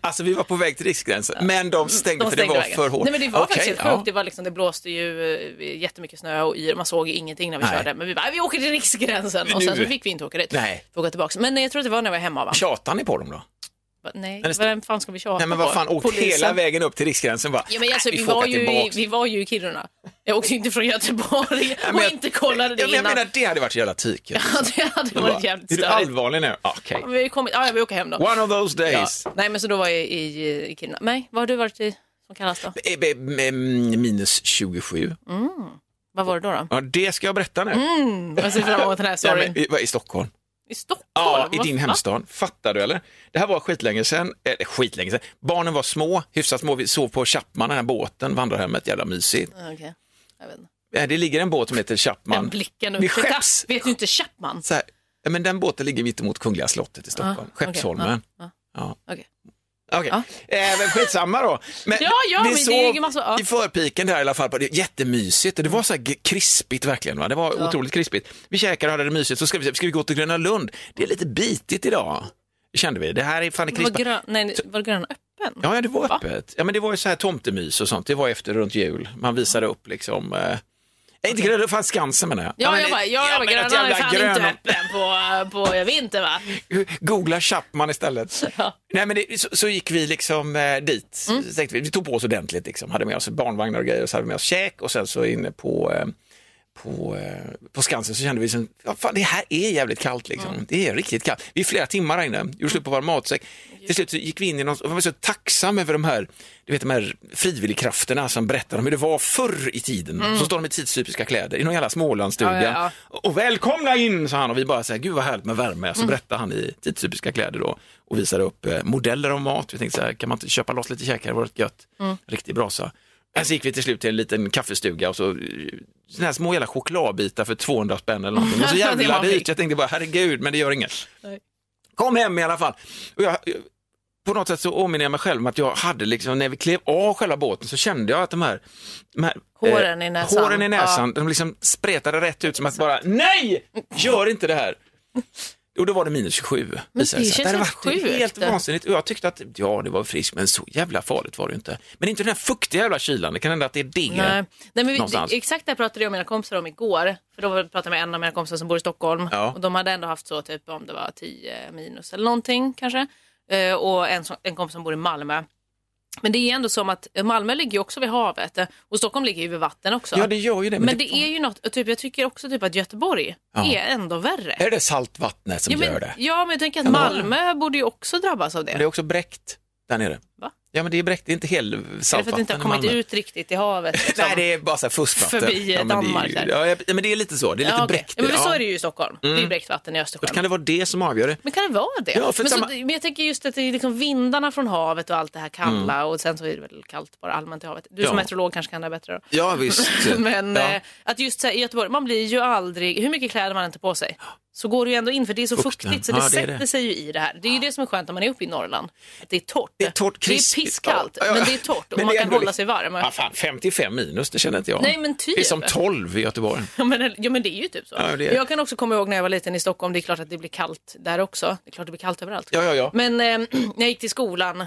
[SPEAKER 2] alltså vi var på väg till riksgränsen, men de stängde
[SPEAKER 1] De
[SPEAKER 2] för det
[SPEAKER 1] stängde
[SPEAKER 2] var
[SPEAKER 1] vägen.
[SPEAKER 2] för hårt.
[SPEAKER 1] Nej men det var
[SPEAKER 2] Okej,
[SPEAKER 1] faktiskt helt
[SPEAKER 2] ja.
[SPEAKER 1] sjukt. Det, var liksom, det blåste ju eh, jättemycket snö och yr. Man såg ingenting när vi
[SPEAKER 2] Nej.
[SPEAKER 1] körde. Men vi bara, vi åker till Riksgränsen. Och sen
[SPEAKER 2] Nu.
[SPEAKER 1] så fick vi inte åka dit.
[SPEAKER 2] Nej.
[SPEAKER 1] Vi åker tillbaka. Men nej, jag tror att det var när vi var hemma va?
[SPEAKER 2] Tjatar ni på dem då?
[SPEAKER 1] Va- Nej,
[SPEAKER 2] Men det-
[SPEAKER 1] vem fan ska vi tjata
[SPEAKER 2] Nej men vad fan,
[SPEAKER 1] på?
[SPEAKER 2] åkt hela vägen upp till riksgränsen bara.
[SPEAKER 1] Ja, men alltså,
[SPEAKER 2] "Nej,
[SPEAKER 1] vi,
[SPEAKER 2] får
[SPEAKER 1] var
[SPEAKER 2] åka
[SPEAKER 1] ju i,
[SPEAKER 2] tillbaks."
[SPEAKER 1] vi var ju i Kiruna. Jag åkte ju inte från Göteborg
[SPEAKER 2] Nej,
[SPEAKER 1] och
[SPEAKER 2] men jag-
[SPEAKER 1] inte kollade det
[SPEAKER 2] ja, men
[SPEAKER 1] innan.
[SPEAKER 2] Jag menar det hade varit så jävla tiken.
[SPEAKER 1] Ja, det hade
[SPEAKER 2] De bara,
[SPEAKER 1] varit jävligt
[SPEAKER 2] Är du
[SPEAKER 1] störigt.
[SPEAKER 2] allvarlig nu? Ah, Okej.
[SPEAKER 1] Men Vi, har ju kommit, ja, ja, vi åker hem då.
[SPEAKER 2] One of those
[SPEAKER 1] Ja.
[SPEAKER 2] days.
[SPEAKER 1] Nej, men så då var jag i, i, i Kiruna. Nej, vad har du varit i som kallas då?
[SPEAKER 2] Eh, eh, mm, Minus 27.
[SPEAKER 1] Vad var det då? då?
[SPEAKER 2] Mm. Ja, det ska jag berätta
[SPEAKER 1] Mm.
[SPEAKER 2] nu.
[SPEAKER 1] Jag ser fram emot den här
[SPEAKER 2] Ja,
[SPEAKER 1] storyn.
[SPEAKER 2] men, i, vad, I Stockholm?
[SPEAKER 1] I Stockholm?
[SPEAKER 2] Ja, i
[SPEAKER 1] Vad
[SPEAKER 2] din
[SPEAKER 1] fan?
[SPEAKER 2] hemstad. Fattar du eller? Det här var skitlänge sedan, eller skitlänge sedan, barnen var små, hyfsat små, vi sov på Chapman, den här båten, vandrarhemmet, jävla mysigt.
[SPEAKER 1] Ja, Okej. Jag vet inte.
[SPEAKER 2] Eh, Det ligger en båt som heter
[SPEAKER 1] Den
[SPEAKER 2] Chapman.
[SPEAKER 1] blicken.
[SPEAKER 2] Vid
[SPEAKER 1] Ursäkta,
[SPEAKER 2] Skepps.
[SPEAKER 1] Vet du inte Chapman?
[SPEAKER 2] Så här, ja, men den båten ligger mitt emot Kungliga slottet i Stockholm,
[SPEAKER 1] Ah, okej, Ah,
[SPEAKER 2] Skeppsholmen.
[SPEAKER 1] ja,
[SPEAKER 2] Ja.
[SPEAKER 1] Okej.
[SPEAKER 2] Okej, eh, men skitsamma då. Men
[SPEAKER 1] Ja, ja,
[SPEAKER 2] vi
[SPEAKER 1] men det
[SPEAKER 2] sov
[SPEAKER 1] ligger massor- ja.
[SPEAKER 2] i förpiken där i alla fall, på- det är jättemysigt och det var så här g- krispigt verkligen. Va? Det var otroligt krispigt. Vi käkade och hade det mysigt, så ska vi, ska vi gå till Gröna Lund? Det är lite bitigt idag, kände vi. Det här är fan det
[SPEAKER 1] Var,
[SPEAKER 2] krispa.
[SPEAKER 1] grön, nej, var grön öppen?
[SPEAKER 2] Ja, ja, det var öppet. Ja, men det var ju så här tomtemys och sånt. Det var efter runt jul. Man visade upp liksom... Eh... nej, Inte Gröna Lund, fan Skansen menar jag.
[SPEAKER 1] Ja,
[SPEAKER 2] men
[SPEAKER 1] jag
[SPEAKER 2] det-
[SPEAKER 1] bara, ja, jag bara,
[SPEAKER 2] men
[SPEAKER 1] Grönan
[SPEAKER 2] ett
[SPEAKER 1] är
[SPEAKER 2] jävla
[SPEAKER 1] fan
[SPEAKER 2] grön-
[SPEAKER 1] inte öppen på, på vintern va?
[SPEAKER 2] Googla Chapman istället.
[SPEAKER 1] Ja.
[SPEAKER 2] Nej, men det, så, så gick vi liksom eh, dit. Så tänkte vi, vi tog på oss ordentligt, liksom. hade med oss barnvagnar och grejer, och så hade vi med oss käk och sen så inne på, eh, på, eh, på Skansen så kände vi som, ja, fan, det här är jävligt kallt liksom. Det är riktigt kallt. Vi är flera timmar där inne, gjorde slut på vår matsäck. Till slut så gick vi in i någon, och var så tacksam över de här, du vet de här frivilligkrafterna som berättar om hur det var förr i tiden. Så står de i tidstypiska kläder i någon jävla Smålandsstuga.
[SPEAKER 1] Mm. Ja, ja,
[SPEAKER 2] Och välkomna in, sa han och vi bara så här, gud vad härligt med värme. Så
[SPEAKER 1] Mm.
[SPEAKER 2] berättar han i tidstypiska kläder då och visar upp eh, modeller av mat. Vi tänkte så här, kan man inte köpa loss lite käkar, det vore gött.
[SPEAKER 1] Mm.
[SPEAKER 2] Riktig brasa. Men så gick vi till slut till en liten kaffestuga och så eh, såna här små jävla chokladbitar för 200 spänn eller någonting. Och så
[SPEAKER 1] Det
[SPEAKER 2] jävla
[SPEAKER 1] var fint.
[SPEAKER 2] dyrt, jag tänkte bara herregud, men det gör inget. Kom hem i alla fall. Och jag, eh, på något sätt så åminner jag mig själv om att jag hade liksom, när vi klev av själva båten så kände jag att de här, de här eh,
[SPEAKER 1] Håren i näsan.
[SPEAKER 2] håren i näsan de liksom spretade rätt ut som att bara, nej, gör inte det här. Och då var det minus 27. visade
[SPEAKER 1] det
[SPEAKER 2] sig.
[SPEAKER 1] känns
[SPEAKER 2] hade
[SPEAKER 1] helt
[SPEAKER 2] varit
[SPEAKER 1] sjukt.
[SPEAKER 2] Helt vansinnigt. Och jag tyckte att, ja det var friskt, men så jävla farligt var det inte. Men inte den här fuktiga jävla kylan, det kan hända att det är det.
[SPEAKER 1] Nej. Nej, men vi,
[SPEAKER 2] Någonstans.
[SPEAKER 1] exakt det här pratade jag och mina kompisar om igår. För då pratade jag med en av mina kompisar som bor i Stockholm.
[SPEAKER 2] Ja.
[SPEAKER 1] Och de hade ändå haft så typ om det var 10 minus eller någonting kanske. Eh, och en, som- en kompis som bor i Malmö. Men det är ändå som att eh, Malmö ligger ju också vid havet eh, och Stockholm ligger ju vid vatten också.
[SPEAKER 2] Ja det gör ju det.
[SPEAKER 1] men, det, är ju något, och typ, jag tycker också typ att Göteborg
[SPEAKER 2] Ja.
[SPEAKER 1] är ändå värre.
[SPEAKER 2] är det saltvattnet som
[SPEAKER 1] ja,
[SPEAKER 2] gör
[SPEAKER 1] men,
[SPEAKER 2] det?
[SPEAKER 1] ja, men jag tänker att
[SPEAKER 2] Ja, men-
[SPEAKER 1] Malmö borde ju också drabbas av det.
[SPEAKER 2] Men det är också bräckt där nere.
[SPEAKER 1] Va?
[SPEAKER 2] Ja men det är bräckt, det är inte helt
[SPEAKER 1] Är det för att
[SPEAKER 2] saltvatten.
[SPEAKER 1] det inte har
[SPEAKER 2] i
[SPEAKER 1] kommit
[SPEAKER 2] Malmö.
[SPEAKER 1] ut riktigt i havet. liksom?
[SPEAKER 2] Nej det är bara så här fuskvatten.
[SPEAKER 1] Förbi eh,
[SPEAKER 2] ja, men det är ju-
[SPEAKER 1] Danmark där.
[SPEAKER 2] Ja, ja, men det är lite så, det är lite
[SPEAKER 1] Ja, okej.
[SPEAKER 2] bräckt.
[SPEAKER 1] Ja, men
[SPEAKER 2] ja.
[SPEAKER 1] så är det ju i Stockholm. Det är bräckt vatten i
[SPEAKER 2] Och
[SPEAKER 1] Östersjön.
[SPEAKER 2] Kan det vara det som avgör det?
[SPEAKER 1] Men kan det vara det?
[SPEAKER 2] Ja, för
[SPEAKER 1] men,
[SPEAKER 2] samma-
[SPEAKER 1] så, men jag tänker just att det är liksom vindarna från havet och allt det här kalla och sen så är det väl kallt bara allmänt i havet. Du som
[SPEAKER 2] Mm. Ja.
[SPEAKER 1] meteorolog kanske kan det här bättre då.
[SPEAKER 2] Ja visst.
[SPEAKER 1] Men
[SPEAKER 2] Ja.
[SPEAKER 1] eh, att just så här, i Göteborg, man blir ju aldrig, hur mycket kläder man inte på sig så går det ju ändå in för det är så
[SPEAKER 2] Fukten.
[SPEAKER 1] fuktigt så det,
[SPEAKER 2] Ja, det är
[SPEAKER 1] sätter
[SPEAKER 2] det.
[SPEAKER 1] sig ju i det här. Det är ju det som är skönt när man är uppe i Norrland. Att det är torrt.
[SPEAKER 2] Det är torrt, krispigt.
[SPEAKER 1] pisskallt
[SPEAKER 2] Ja, ja.
[SPEAKER 1] men det är torrt och
[SPEAKER 2] Men
[SPEAKER 1] man
[SPEAKER 2] det är
[SPEAKER 1] kan
[SPEAKER 2] ändå
[SPEAKER 1] hålla
[SPEAKER 2] liksom-
[SPEAKER 1] sig varm.
[SPEAKER 2] Ja, fan, 55 minus, det känner inte jag.
[SPEAKER 1] Nej, men typ.
[SPEAKER 2] Det är som 12 i Göteborg.
[SPEAKER 1] Ja men, ja men det är ju typ så.
[SPEAKER 2] Ja, det är-
[SPEAKER 1] Jag kan också komma ihåg när jag var liten i Stockholm, det är klart att det blir kallt där också. Det är klart det blir kallt överallt.
[SPEAKER 2] Ja, ja, ja.
[SPEAKER 1] Men eh, när jag gick till skolan,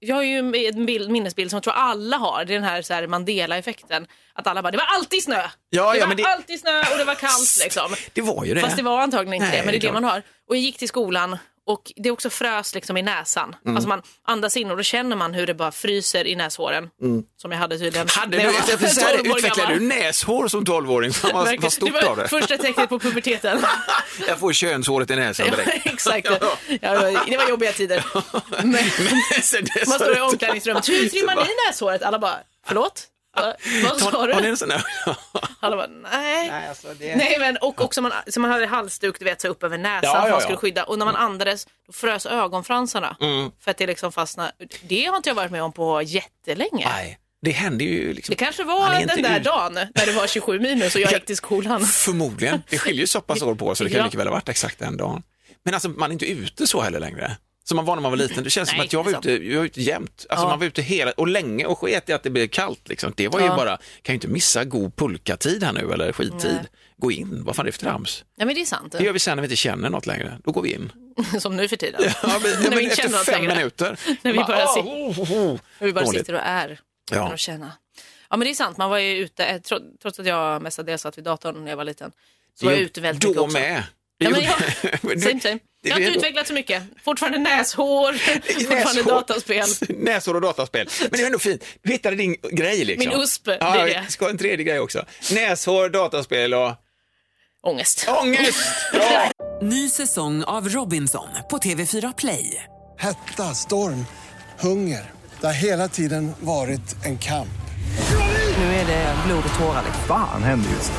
[SPEAKER 1] jag har ju en bild, minnesbild som jag tror alla har, det är den här, så här Mandela-effekten. Att alla bara, det var alltid snö!
[SPEAKER 2] ja,
[SPEAKER 1] det var
[SPEAKER 2] men det-
[SPEAKER 1] alltid snö och det var kallt liksom.
[SPEAKER 2] Det var ju det.
[SPEAKER 1] Fast det var antagligen inte
[SPEAKER 2] Nej,
[SPEAKER 1] det, men det är
[SPEAKER 2] klart.
[SPEAKER 1] det man har. Och jag gick till skolan och det också frös liksom i näsan.
[SPEAKER 2] Mm.
[SPEAKER 1] Alltså man andas in och då känner man hur det bara fryser i näshåren. Som jag hade tydligen
[SPEAKER 2] Mm. Hade
[SPEAKER 1] när
[SPEAKER 2] du,
[SPEAKER 1] jag var
[SPEAKER 2] efter så här
[SPEAKER 1] 12 år
[SPEAKER 2] utvecklade
[SPEAKER 1] gammal.
[SPEAKER 2] du näshår som 12-åring? Fan, Vad,
[SPEAKER 1] Verkligen.
[SPEAKER 2] alltså, vad stort
[SPEAKER 1] det var
[SPEAKER 2] av det.
[SPEAKER 1] första tecknet på puberteten.
[SPEAKER 2] Jag får könshåret i näsan
[SPEAKER 1] Ja,
[SPEAKER 2] direkt.
[SPEAKER 1] Exakt. Ja, det var- det var jobbiga tider. Men,
[SPEAKER 2] Men sen dess
[SPEAKER 1] man
[SPEAKER 2] har
[SPEAKER 1] står i
[SPEAKER 2] du-
[SPEAKER 1] omklädningsrummet. Hur trimmar
[SPEAKER 2] Bara-
[SPEAKER 1] ni näshåret? Alla bara, förlåt? Va- Vad sa
[SPEAKER 2] Har ni
[SPEAKER 1] du?
[SPEAKER 2] en sån där?
[SPEAKER 1] Alla bara, nej. Nej, men, och också man, så man hade halsduk du vet, så upp över näsan
[SPEAKER 2] Ja,
[SPEAKER 1] för
[SPEAKER 2] ja,
[SPEAKER 1] man
[SPEAKER 2] ja. Mm.
[SPEAKER 1] skulle skydda. Och när man andades då frös ögonfransarna. För att det liksom fastnade. Det har inte jag varit med om på jättelänge.
[SPEAKER 2] Nej, det hände ju liksom.
[SPEAKER 1] Det kanske
[SPEAKER 2] Man är
[SPEAKER 1] var
[SPEAKER 2] inte
[SPEAKER 1] den där
[SPEAKER 2] ur-
[SPEAKER 1] dagen när det var 27 minus och jag gick till skolan.
[SPEAKER 2] Förmodligen. Det skiljer ju så pass år på oss, så det kan
[SPEAKER 1] Ja.
[SPEAKER 2] lika väl ha varit exakt den dagen. Men alltså, man är inte ute så heller längre. Som man var när man var liten. Det känns som
[SPEAKER 1] Nej,
[SPEAKER 2] att jag var
[SPEAKER 1] det är
[SPEAKER 2] ute, jag var ute jämt. Alltså,
[SPEAKER 1] Ja.
[SPEAKER 2] Man var ute hela, och länge och sket i att det blev kallt. Liksom. Det var ju
[SPEAKER 1] Ja.
[SPEAKER 2] bara, kan ju inte missa god pulkatid här nu eller skittid.
[SPEAKER 1] Nej.
[SPEAKER 2] Gå in, vad fan är det för trams?
[SPEAKER 1] Nej men det är sant.
[SPEAKER 2] Det gör vi sen när vi inte känner något längre. Då går vi in.
[SPEAKER 1] Som nu för tiden.
[SPEAKER 2] Ja, men,
[SPEAKER 1] När
[SPEAKER 2] ja,
[SPEAKER 1] vi
[SPEAKER 2] men
[SPEAKER 1] inte
[SPEAKER 2] efter
[SPEAKER 1] känner något
[SPEAKER 2] fem
[SPEAKER 1] längre.
[SPEAKER 2] minuter.
[SPEAKER 1] När vi
[SPEAKER 2] Bara,
[SPEAKER 1] bara
[SPEAKER 2] ah,
[SPEAKER 1] sit-
[SPEAKER 2] oh, oh, oh.
[SPEAKER 1] Och vi bara
[SPEAKER 2] Dåligt.
[SPEAKER 1] sitter och är.
[SPEAKER 2] Ja.
[SPEAKER 1] Ja. Och känna. ja men det är sant, man var ju ute, eh, tro- trots att jag mestadels satt vid datorn när jag var liten. Så var jag ute väldigt
[SPEAKER 2] Då
[SPEAKER 1] mycket också.
[SPEAKER 2] med.
[SPEAKER 1] Ja, men
[SPEAKER 2] Det gjorde-
[SPEAKER 1] jag,
[SPEAKER 2] Du-
[SPEAKER 1] same, same.
[SPEAKER 2] det-
[SPEAKER 1] jag har
[SPEAKER 2] det-
[SPEAKER 1] inte utvecklat så mycket. Fortfarande näshår, fortfarande
[SPEAKER 2] Näshår.
[SPEAKER 1] dataspel.
[SPEAKER 2] Näshår och dataspel. Men det är ändå fint. Du hittade din grej liksom.
[SPEAKER 1] Min USP, det är
[SPEAKER 2] ja,
[SPEAKER 1] det.
[SPEAKER 2] jag Ska ha en tredje grej också. Näshår, dataspel och
[SPEAKER 1] Ångest.
[SPEAKER 2] ångest. Ja.
[SPEAKER 5] Ny säsong av Robinson på TV4 Play.
[SPEAKER 6] Hetta, storm, hunger. Det har hela tiden varit en kamp.
[SPEAKER 5] Nu är det blod och tårar.
[SPEAKER 7] Fan händer just det.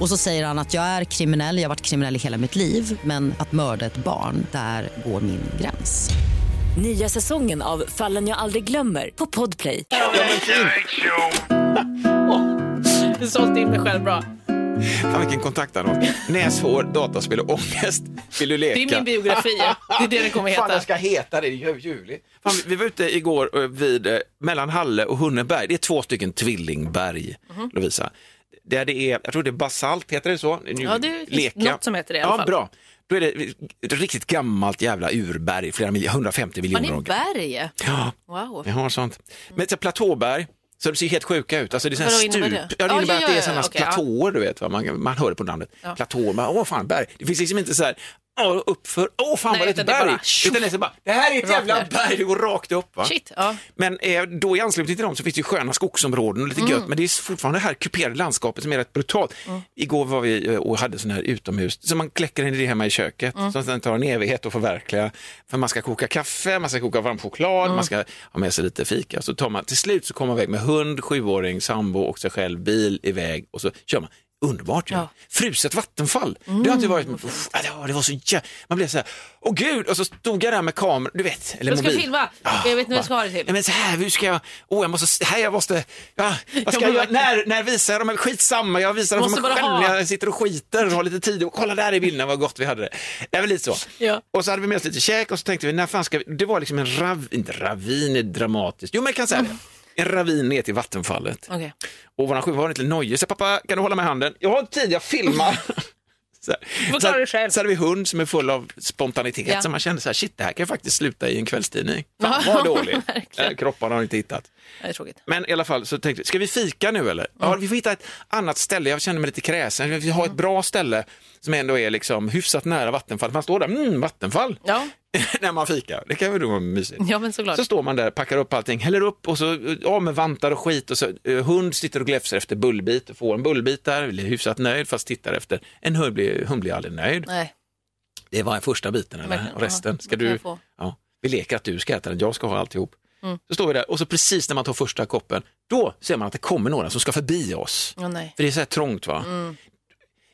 [SPEAKER 8] Och så säger han att jag är kriminell, jag har varit kriminell i hela mitt liv men att mörda ett barn, där går min gräns.
[SPEAKER 3] Nya säsongen av Fallen jag aldrig glömmer på Podplay.
[SPEAKER 1] Du sålde in mig själv bra.
[SPEAKER 2] Fan vilken kontaktannons. Näshår, dataspel och ångest. Vill du leka?
[SPEAKER 1] Det är min biografi. ja. Det är det den kommer
[SPEAKER 2] Fan,
[SPEAKER 1] heta.
[SPEAKER 2] den ska heta det i juli. Fan, vi var ute igår
[SPEAKER 1] Mhm.
[SPEAKER 2] eh, vid, eh, mellan Halle och Hunneberg. Det är två stycken tvillingberg, Lovisa. där det är, jag tror det är basalt, heter det så? Nu
[SPEAKER 1] Ja, det finns något som heter det i alla
[SPEAKER 2] ja,
[SPEAKER 1] fall.
[SPEAKER 2] Bra. Då är det ett riktigt gammalt jävla urberg, flera miljoner, 150
[SPEAKER 1] Man
[SPEAKER 2] miljoner
[SPEAKER 1] är
[SPEAKER 2] år
[SPEAKER 1] berg.
[SPEAKER 2] Ja,
[SPEAKER 1] Wow.
[SPEAKER 2] jag har sånt. Men så här platåberg, så de ser helt sjuka ut. Alltså det är sådana
[SPEAKER 1] Mm. Vadå,
[SPEAKER 2] stup.
[SPEAKER 1] innebär
[SPEAKER 2] Det?
[SPEAKER 1] det?
[SPEAKER 2] Ja, det
[SPEAKER 1] Ja,
[SPEAKER 2] innebär
[SPEAKER 1] ja,
[SPEAKER 2] att det är
[SPEAKER 1] ja,
[SPEAKER 2] sådana
[SPEAKER 1] ja, okej, ja.
[SPEAKER 2] platåer, du vet. Va? Man, man hör det på namnet. Platåer, man, åh fan berg. Det finns liksom inte så här, åh uppför, åh fan
[SPEAKER 1] Nej,
[SPEAKER 2] vad det är
[SPEAKER 1] utan
[SPEAKER 2] ett
[SPEAKER 1] det är
[SPEAKER 2] berg.
[SPEAKER 1] bara tjoff.
[SPEAKER 2] utan det är så bara, det här är ett
[SPEAKER 1] Rakt
[SPEAKER 2] jävla
[SPEAKER 1] ner.
[SPEAKER 2] berg, det går rakt upp. Va?
[SPEAKER 1] Shit, ja.
[SPEAKER 2] Men eh, då i anslutning till dem så finns det ju sköna skogsområden och lite
[SPEAKER 1] Mm.
[SPEAKER 2] gött, men det är fortfarande det här kuperade landskapet som är rätt brutalt. Igår var vi eh, och hade sån här utomhus, så man kläcker en idé hemma i köket,
[SPEAKER 1] Mm.
[SPEAKER 2] som sen tar en evighet att förverkliga. För man ska koka kaffe, man ska koka varm choklad,
[SPEAKER 1] Mm.
[SPEAKER 2] man ska ha med sig lite fika. Så tar man, till slut så kommer man iväg med hund, sjuåring, sambo och sig själv, bil iväg och så kör man. Underbart ju.
[SPEAKER 1] Ja. Mm.
[SPEAKER 2] Fruset vattenfall. Det har inte varit... Uff, ja, det var så jä... Man blev så här, åh gud, och så stod jag där med kameran, du vet, eller
[SPEAKER 1] Jag ska
[SPEAKER 2] mobil.
[SPEAKER 1] filma.
[SPEAKER 2] Ah,
[SPEAKER 1] Jag vet inte vad
[SPEAKER 2] va.
[SPEAKER 1] jag ska ha det till.
[SPEAKER 2] Nej, men så här, hur ska jag, åh jag måste, här jag måste, ja, vad ska
[SPEAKER 1] Jag
[SPEAKER 2] jag,
[SPEAKER 1] må-
[SPEAKER 2] göra? när, när visar jag dem? Skitsamma, jag visar dem
[SPEAKER 1] Måste
[SPEAKER 2] som
[SPEAKER 1] bara
[SPEAKER 2] mig själv
[SPEAKER 1] ha.
[SPEAKER 2] när jag sitter och skiter och har lite tid. Och kolla där i bilderna vad gott vi hade det. Det är väl lite så.
[SPEAKER 1] Ja.
[SPEAKER 2] Och så hade vi med oss lite käk och så tänkte vi, när fan ska vi, det var liksom en rav, inte ravin är dramatiskt, jo men jag kan säga det. En ravin ner till vattenfallet.
[SPEAKER 1] Okej.
[SPEAKER 2] Och våran sjuåring var lite nojig, så pappa kan du hålla med handen? Jag har inte tid, jag filmar. Så, här.
[SPEAKER 1] får klara dig själv.
[SPEAKER 2] så hade vi hund som är full av spontanitet,
[SPEAKER 1] Ja.
[SPEAKER 2] så man kände så här, shit det här kan faktiskt sluta i en kvällstidning. Fan vad dåligt,
[SPEAKER 1] verkligen.
[SPEAKER 2] Eh, kropparna har inte hittat.
[SPEAKER 1] Det är tråkigt.
[SPEAKER 2] Men i alla fall så tänkte vi, ska vi fika nu eller? Ja,
[SPEAKER 1] Mm.
[SPEAKER 2] vi får hitta ett annat ställe, jag känner mig lite kräsen, vi har ett bra ställe som ändå är liksom hyfsat nära vattenfall, man står där, mm, vattenfall,
[SPEAKER 1] Ja,
[SPEAKER 2] när man fikar, det kan väl då vara mysigt.
[SPEAKER 1] ja men såklart.
[SPEAKER 2] Så står man där, packar upp allting, häller upp och så eh, av med vantar och skit och så eh, hund sitter och gläfser efter bullbit och får en bullbit där, blir hyfsat nöjd fast tittar efter. En hund blir, hund blir aldrig nöjd.
[SPEAKER 1] Nej,
[SPEAKER 2] Det var den första biten eller?
[SPEAKER 1] Verkligen,
[SPEAKER 2] Och resten,
[SPEAKER 1] ja.
[SPEAKER 2] ska
[SPEAKER 1] Vad kan
[SPEAKER 2] du...
[SPEAKER 1] jag få? Mm.
[SPEAKER 2] Ja, vi leker att du ska äta den, jag ska ha alltihop. Så står vi där och så precis när man tar första koppen, då ser man att det kommer några som ska förbi oss.
[SPEAKER 1] ja, nej.
[SPEAKER 2] För det är så här trångt va?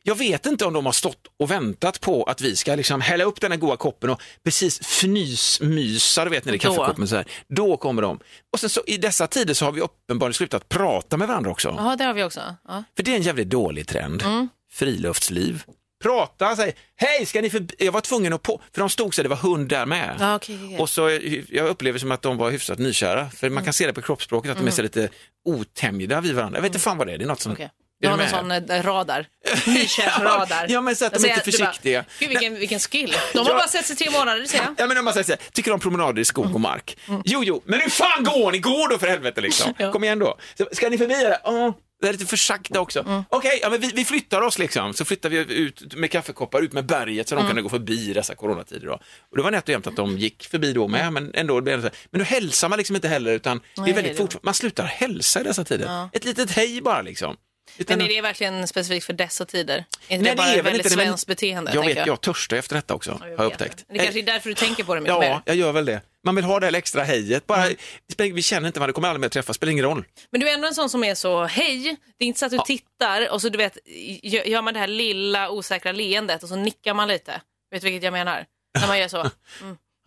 [SPEAKER 2] Jag vet inte om de har stått och väntat på att vi ska liksom hälla upp den här goda koppen och precis fnysmysa, du vet när det är
[SPEAKER 1] Då?
[SPEAKER 2] kaffekoppen så här. Då kommer de. Och sen så i dessa tider så har vi uppenbarligen slutat prata med varandra också.
[SPEAKER 1] Ja, Mm. det har vi också. Ja.
[SPEAKER 2] För det är en jävligt dålig trend. Friluftsliv. Prata, säg hej, ska ni förbi? Jag var tvungen att på, för de stod så här, det var hund där med.
[SPEAKER 1] Ja, okej, okej, Mm. okej.
[SPEAKER 2] Och så, jag upplever som att de var hyfsat nykära, för man kan se det på kroppsspråket att de är så lite otämjda vid varandra. Jag vet inte fan vad det är, det Mm. är något som...
[SPEAKER 1] Mm. Okej.
[SPEAKER 2] Är
[SPEAKER 1] Du har
[SPEAKER 2] du
[SPEAKER 1] någon
[SPEAKER 2] med?
[SPEAKER 1] sån eh, radar, nykärradar.
[SPEAKER 2] Ja, men så att de
[SPEAKER 1] Alltså,
[SPEAKER 2] är inte
[SPEAKER 1] jag- du bara,
[SPEAKER 2] försiktiga.
[SPEAKER 1] Gud vilken, vilken skill. De har
[SPEAKER 2] Ja.
[SPEAKER 1] bara sett sig tre månader, det ser jag.
[SPEAKER 2] Ja men om man säger så här, tycker om promenader i skog
[SPEAKER 1] Mm.
[SPEAKER 2] och mark? Jo, jo, men hur fan går ni? Går då för helvete liksom.
[SPEAKER 1] Ja.
[SPEAKER 2] Kom igen då. Så, ska ni förbi det? Ja, det är lite för sakta också.
[SPEAKER 1] Mm.
[SPEAKER 2] Okej, ja, men vi, vi flyttar oss liksom. Så flyttar vi ut med kaffekoppar ut med berget så
[SPEAKER 1] Mm.
[SPEAKER 2] de kunde gå förbi i dessa coronatider. Då. Och det var nätt och jämnt att de gick förbi då med, men ändå. blev det så här. Men då hälsar man liksom inte heller utan det
[SPEAKER 1] Mm. Nej,
[SPEAKER 2] är väldigt
[SPEAKER 1] det-
[SPEAKER 2] fort, man slutar hälsa i dessa tider. Ett litet hej bara liksom. Utan-
[SPEAKER 1] Men är det verkligen specifikt för dessa tider? Är inte det
[SPEAKER 2] Nej,
[SPEAKER 1] bara
[SPEAKER 2] väl
[SPEAKER 1] ett väldigt
[SPEAKER 2] det, men-
[SPEAKER 1] svenskt beteende?
[SPEAKER 2] Jag
[SPEAKER 1] tänker
[SPEAKER 2] vet, jag törstar efter detta också, har jag
[SPEAKER 1] vet
[SPEAKER 2] upptäckt. Eh,
[SPEAKER 1] Det kanske är därför du tänker på det mycket
[SPEAKER 2] Ja,
[SPEAKER 1] mer. Mm.
[SPEAKER 2] jag gör väl det. Man vill ha det här extra hejet. Bara, det spelar- Vi känner inte varandra, kommer aldrig mer träffas, spelar ingen roll.
[SPEAKER 1] Men du är ändå en sån som är så, hej, det är inte så att du tittar och så du vet, gö- gör man det här lilla osäkra leendet och så nickar man lite. Vet du vilket jag menar? När man gör så.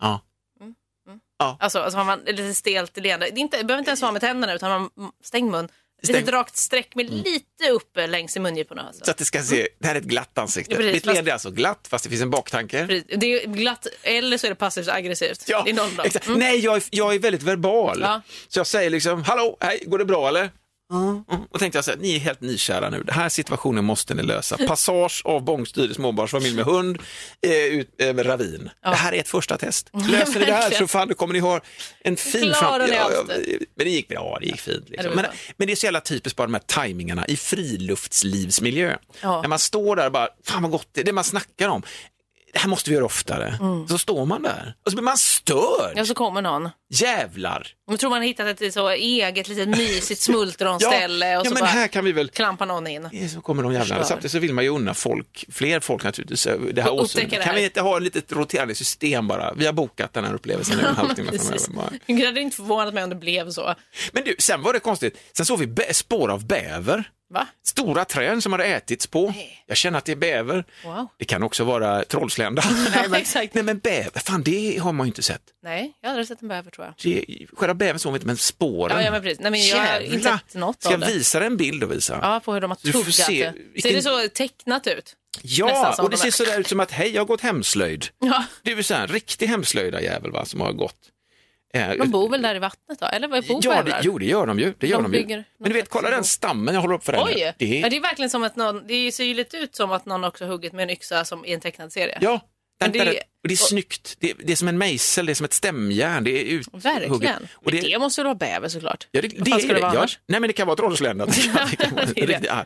[SPEAKER 2] Ja.
[SPEAKER 1] Alltså, alltså har man ett lite stelt leende. Det är inte, det behöver inte ens vara med tänderna utan man mm, stäng mun.
[SPEAKER 2] Stäng. Mm.
[SPEAKER 1] Lite rakt streck med lite uppe längs i mungiporna.
[SPEAKER 2] Så
[SPEAKER 1] Alltså.
[SPEAKER 2] att det ska se, det här är ett glatt ansikte.
[SPEAKER 1] Ja, precis,
[SPEAKER 2] Mitt
[SPEAKER 1] fast-
[SPEAKER 2] leende är alltså glatt, fast det finns en baktanke.
[SPEAKER 1] Precis. Det är glatt eller så är det passivt aggressivt.
[SPEAKER 2] Ja,
[SPEAKER 1] det är någon av dem.
[SPEAKER 2] exakt. Nej, jag är, jag är väldigt verbal.
[SPEAKER 1] Ja.
[SPEAKER 2] Så jag säger liksom, hallå, hej, går det bra eller? Mm. Och tänkte jag så här, ni är helt nykära nu, den här situationen måste ni lösa. Passage av bångstyrig småbarnsfamilj med hund eh, ut eh, med ravin. Det här är ett första test. Löser ni det här så
[SPEAKER 1] verkligen.
[SPEAKER 2] fan, då kommer ni ha en fin
[SPEAKER 1] Klarar
[SPEAKER 2] framtid.
[SPEAKER 1] ni
[SPEAKER 2] Ja,
[SPEAKER 1] allt
[SPEAKER 2] ja, men det gick, ja, det gick fint.
[SPEAKER 1] Ja, det
[SPEAKER 2] Liksom.
[SPEAKER 1] var
[SPEAKER 2] Men,
[SPEAKER 1] bra.
[SPEAKER 2] men det är så jävla typiskt bara de här tajmingarna i friluftslivsmiljö.
[SPEAKER 1] Ja.
[SPEAKER 2] När man står där och bara, fan vad gott det är, det man snackar om. Det här måste vi göra oftare. Så står man där och så blir man störd.
[SPEAKER 1] Mm. Ja, så kommer någon.
[SPEAKER 2] Jävlar!
[SPEAKER 1] Man tror man har hittat ett så eget litet mysigt smultronställe och
[SPEAKER 2] ja
[SPEAKER 1] så
[SPEAKER 2] men
[SPEAKER 1] bara
[SPEAKER 2] här kan vi väl... Eh,
[SPEAKER 1] klampar någon in.
[SPEAKER 2] Så kommer de jävlarna.
[SPEAKER 1] Förstör.
[SPEAKER 2] Samtidigt så vill man ju unna folk, fler folk naturligtvis, eh, det här
[SPEAKER 1] Och upptäcka
[SPEAKER 2] osynliga.
[SPEAKER 1] det här.
[SPEAKER 2] Kan vi inte ha ett litet roterande system bara? Vi har bokat den här upplevelsen nu en halvtimme
[SPEAKER 1] Precis.
[SPEAKER 2] framöver. bara.
[SPEAKER 1] Det hade inte förvånat mig om det blev så.
[SPEAKER 2] Men du, sen var det konstigt. Sen såg vi bä- spår av bäver.
[SPEAKER 1] Va?
[SPEAKER 2] Stora träd som hade ätits på.
[SPEAKER 1] Nej.
[SPEAKER 2] Jag känner att det är bäver.
[SPEAKER 1] Wow.
[SPEAKER 2] Det kan också vara trollslända. nej, men,
[SPEAKER 1] exakt.
[SPEAKER 2] nej men bäver, fan det har man ju inte sett.
[SPEAKER 1] Nej, jag har aldrig sett en bäver tror jag.
[SPEAKER 2] Det, själva bävern såg vi inte, men spåren.
[SPEAKER 1] Ja, ja, men precis. Nej, men jag har inte
[SPEAKER 2] Jävlar.
[SPEAKER 1] sett något
[SPEAKER 2] Ska
[SPEAKER 1] av
[SPEAKER 2] jag
[SPEAKER 1] det.
[SPEAKER 2] visa dig en bild och visa?
[SPEAKER 1] Ja, på hur de har
[SPEAKER 2] Du får
[SPEAKER 1] tuggat
[SPEAKER 2] se
[SPEAKER 1] det. Ser
[SPEAKER 2] vilken-
[SPEAKER 1] det så tecknat ut?
[SPEAKER 2] Ja,
[SPEAKER 1] Nästan som
[SPEAKER 2] och det
[SPEAKER 1] de
[SPEAKER 2] ser
[SPEAKER 1] här-
[SPEAKER 2] sådär ut som att hej, jag har gått hemslöjd.
[SPEAKER 1] Ja.
[SPEAKER 2] Det är ju så här, en riktig hemslöjdarjävel va, som har gått. Eh,
[SPEAKER 1] De bor väl där i vattnet då? Eller vad bor
[SPEAKER 2] ja,
[SPEAKER 1] på
[SPEAKER 2] det,
[SPEAKER 1] öar?
[SPEAKER 2] jo, det gör de ju. Det gör
[SPEAKER 1] De
[SPEAKER 2] de ju.
[SPEAKER 1] bygger någon
[SPEAKER 2] Men du vet,
[SPEAKER 1] slags
[SPEAKER 2] kolla
[SPEAKER 1] bro.
[SPEAKER 2] den stammen jag håller upp för den.
[SPEAKER 1] Oj!
[SPEAKER 2] här.
[SPEAKER 1] Det
[SPEAKER 2] Det
[SPEAKER 1] Ja,
[SPEAKER 2] är,
[SPEAKER 1] det är verkligen som att någon, det ser ju lite ut som att någon också huggit med en yxa som i en tecknad serie.
[SPEAKER 2] ja,
[SPEAKER 1] Men
[SPEAKER 2] den,
[SPEAKER 1] det
[SPEAKER 2] det,
[SPEAKER 1] är-
[SPEAKER 2] är, och det är snyggt. Det är, det är som en mejsel, det är som ett stämjärn. Det är uthugget.
[SPEAKER 1] Verkligen.
[SPEAKER 2] Och
[SPEAKER 1] Men det måste ju vara bäver såklart.
[SPEAKER 2] Ja, det,
[SPEAKER 1] Vad
[SPEAKER 2] det,
[SPEAKER 1] fan skulle det vara
[SPEAKER 2] ja,
[SPEAKER 1] annars?
[SPEAKER 2] nej men det kan vara ett ålderslända.
[SPEAKER 1] det är det.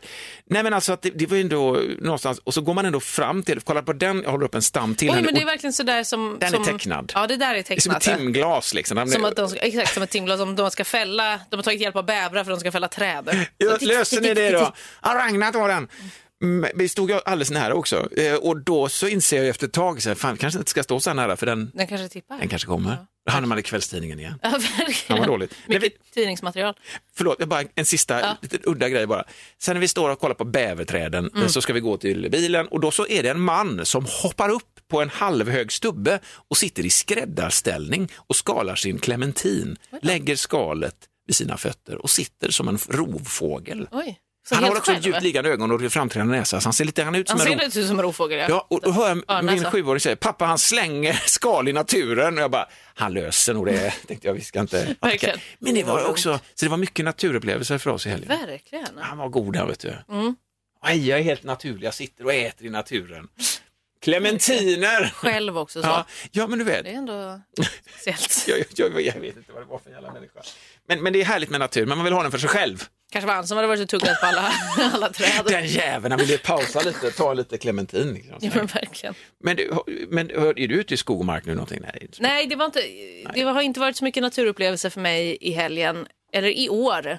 [SPEAKER 2] Nej men alltså att det, det var ju ändå någonstans, och så går man ändå fram till, kolla på den, jag håller upp en stam till
[SPEAKER 1] Oj,
[SPEAKER 2] här nu.
[SPEAKER 1] men det är
[SPEAKER 2] Och
[SPEAKER 1] verkligen sådär som...
[SPEAKER 2] Den är
[SPEAKER 1] som,
[SPEAKER 2] tecknad.
[SPEAKER 1] Ja, det där är
[SPEAKER 2] det är som ett
[SPEAKER 1] tecknat. ja.
[SPEAKER 2] timglas liksom. Han-
[SPEAKER 1] Som att de ska, exakt som ett timglas, som de ska fälla, de har tagit hjälp av bävrar för att de ska fälla träd.
[SPEAKER 2] Ja, löser ni det då? Ja, Ragnar tar den. Mm, Vi stod ju alldeles nära också Eh, och då så inser jag efter ett tag, så här, fan vi kanske inte ska stå så här nära för den,
[SPEAKER 1] Den kanske tippar.
[SPEAKER 2] den kanske kommer. Då hamnar man i kvällstidningen igen.
[SPEAKER 1] Ja,
[SPEAKER 2] Fan
[SPEAKER 1] verkligen.
[SPEAKER 2] vad dåligt. Nej, vi,
[SPEAKER 1] Mycket tidningsmaterial.
[SPEAKER 2] förlåt, jag bara en sista
[SPEAKER 1] Ja.
[SPEAKER 2] liten udda grej bara. Sen när vi står och kollar på bäverträden
[SPEAKER 1] Mm.
[SPEAKER 2] eh, så ska vi gå till bilen och då så är det en man som hoppar upp på en halvhög stubbe och sitter i skräddarställning och skalar sin clementin, lägger skalet vid sina fötter och sitter som en rovfågel.
[SPEAKER 1] Oj. Så
[SPEAKER 2] han
[SPEAKER 1] helt
[SPEAKER 2] har också
[SPEAKER 1] själv.
[SPEAKER 2] djupt liggande ögon och framträdande näsa, så han ser lite han ut som
[SPEAKER 1] Han
[SPEAKER 2] en
[SPEAKER 1] ser
[SPEAKER 2] ro-
[SPEAKER 1] lite ut som en rovfågel.
[SPEAKER 2] Ja, och då hör
[SPEAKER 1] Ja,
[SPEAKER 2] jag min
[SPEAKER 1] näsa.
[SPEAKER 2] sjuåring säga, pappa han slänger skal i naturen och jag bara, han löser nog det, tänkte jag, vi ska inte
[SPEAKER 1] Verkligen.
[SPEAKER 2] attacka. Men det var också, så det var mycket naturupplevelser för oss i helgen.
[SPEAKER 1] Verkligen. Mm.
[SPEAKER 2] Han var god han vet du. Nej, jag är helt naturlig, jag sitter och äter i naturen. Clementiner!
[SPEAKER 1] Själv också så.
[SPEAKER 2] Ja, ja men du vet,
[SPEAKER 1] Det är ändå speciellt.
[SPEAKER 2] jag, jag, jag vet inte vad det var för jävla människa. Men, men det är härligt med natur, men man vill ha den för sig själv.
[SPEAKER 1] Kanske var han som hade varit och tuggat på alla, alla träd.
[SPEAKER 2] Den jäveln, han ville pausa lite, ta lite clementin. Liksom.
[SPEAKER 1] Ja, men verkligen.
[SPEAKER 2] Men, du, men hör- är du ute i skog och mark nu någonting? Nej, inte.
[SPEAKER 1] Nej, det, var inte, det har inte varit så mycket naturupplevelser för mig i helgen, eller i år,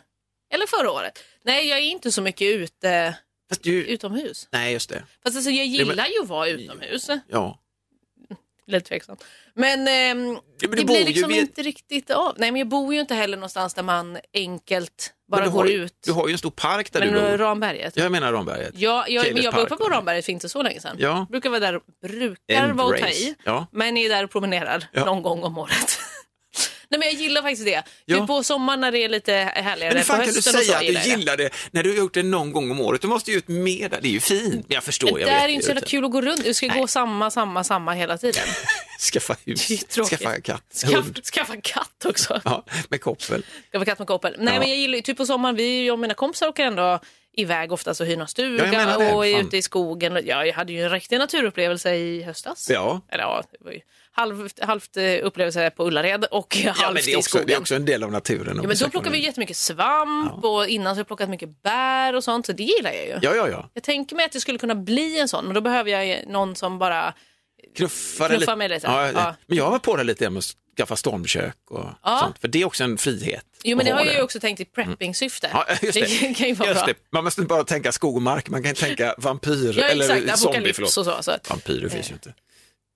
[SPEAKER 1] eller förra året. Nej, jag är inte så mycket ute
[SPEAKER 2] Fast du,
[SPEAKER 1] utomhus.
[SPEAKER 2] nej, just det.
[SPEAKER 1] Fast alltså, jag
[SPEAKER 2] men-
[SPEAKER 1] gillar ju att vara utomhus,
[SPEAKER 2] Ja.
[SPEAKER 1] lite tveksamt. Men, ehm,
[SPEAKER 2] du
[SPEAKER 1] det
[SPEAKER 2] bor
[SPEAKER 1] blir
[SPEAKER 2] ju
[SPEAKER 1] liksom
[SPEAKER 2] vid-
[SPEAKER 1] inte riktigt av. Nej, men jag bor ju inte heller någonstans där man enkelt bara
[SPEAKER 2] Men du
[SPEAKER 1] går
[SPEAKER 2] har, ju-
[SPEAKER 1] ut.
[SPEAKER 2] Du har ju en stor park där
[SPEAKER 1] men
[SPEAKER 2] du bor.
[SPEAKER 1] Ramberget.
[SPEAKER 2] Jag menar Ramberget.
[SPEAKER 1] Ja, jag, men jag var
[SPEAKER 2] Kejlerspark.
[SPEAKER 1] uppe på Ramberget för inte så länge sedan.
[SPEAKER 2] Ja.
[SPEAKER 1] Brukar vara där, brukar vara att ta
[SPEAKER 2] Embrace.
[SPEAKER 1] i,
[SPEAKER 2] Ja.
[SPEAKER 1] men är där och promenerar
[SPEAKER 2] Ja.
[SPEAKER 1] någon gång om året. Nej, men jag gillar faktiskt det. Typ
[SPEAKER 2] Ja.
[SPEAKER 1] på sommaren när det är lite härligare.
[SPEAKER 2] Men hur fan
[SPEAKER 1] på
[SPEAKER 2] kan du
[SPEAKER 1] hösten och
[SPEAKER 2] säga att
[SPEAKER 1] så gillar
[SPEAKER 2] du
[SPEAKER 1] jag det.
[SPEAKER 2] gillar det när du har gjort det någon gång om året? Du måste ju ut mer där, det är ju fint. Jag förstår, jag
[SPEAKER 1] det
[SPEAKER 2] vet
[SPEAKER 1] är ju inte så
[SPEAKER 2] jag
[SPEAKER 1] jävla
[SPEAKER 2] vet.
[SPEAKER 1] kul att gå runt. Du ska gå samma, samma, samma hela tiden.
[SPEAKER 2] Skaffa hus,
[SPEAKER 1] Det är ju tråkigt.
[SPEAKER 2] skaffa katt,
[SPEAKER 1] Skaffa,
[SPEAKER 2] hund.
[SPEAKER 1] skaffa en katt också.
[SPEAKER 2] Ja, med koppel.
[SPEAKER 1] Skaffa katt med koppel. Nej,
[SPEAKER 2] Ja.
[SPEAKER 1] men jag gillar ju- typ på sommaren, vi, jag och mina kompisar åker ändå iväg oftast och hyr någon
[SPEAKER 2] Ja, jag
[SPEAKER 1] stuga
[SPEAKER 2] menar det.
[SPEAKER 1] och är
[SPEAKER 2] Fan.
[SPEAKER 1] ute i skogen. Ja, jag hade ju en riktig naturupplevelse i höstas.
[SPEAKER 2] Ja.
[SPEAKER 1] Eller ja, det var ju halvt, halvt eh, upplevelse på Ullared och
[SPEAKER 2] Ja, men
[SPEAKER 1] halvt
[SPEAKER 2] det är,
[SPEAKER 1] i
[SPEAKER 2] också,
[SPEAKER 1] skogen.
[SPEAKER 2] det är också en del av naturen.
[SPEAKER 1] Ja, men då plockar vi jättemycket svamp och innan så har jag plockat mycket bär och sånt, så det gillar jag ju.
[SPEAKER 2] Ja, ja, ja.
[SPEAKER 1] Jag tänker mig att det skulle kunna bli en sån, men då behöver jag ju någon som bara,
[SPEAKER 2] Knuffa
[SPEAKER 1] Knuffa mig lite.
[SPEAKER 2] Ja,
[SPEAKER 1] Ja.
[SPEAKER 2] Men jag var på det lite med att skaffa stormkök och
[SPEAKER 1] Ja.
[SPEAKER 2] sånt. För det är också en frihet.
[SPEAKER 1] jo men
[SPEAKER 2] att
[SPEAKER 1] det
[SPEAKER 2] ha
[SPEAKER 1] har jag ju också tänkt i prepping-syfte.
[SPEAKER 2] Mm. Ja, just det.
[SPEAKER 1] det kan ju vara
[SPEAKER 2] Just
[SPEAKER 1] bra.
[SPEAKER 2] det. Man måste inte bara tänka skog och mark, man kan tänka vampyr
[SPEAKER 1] Ja,
[SPEAKER 2] eller
[SPEAKER 1] exakt,
[SPEAKER 2] zombie.
[SPEAKER 1] apokalyps och
[SPEAKER 2] Förlåt.
[SPEAKER 1] så. Eh. så att,
[SPEAKER 2] Vampyrer finns ju inte.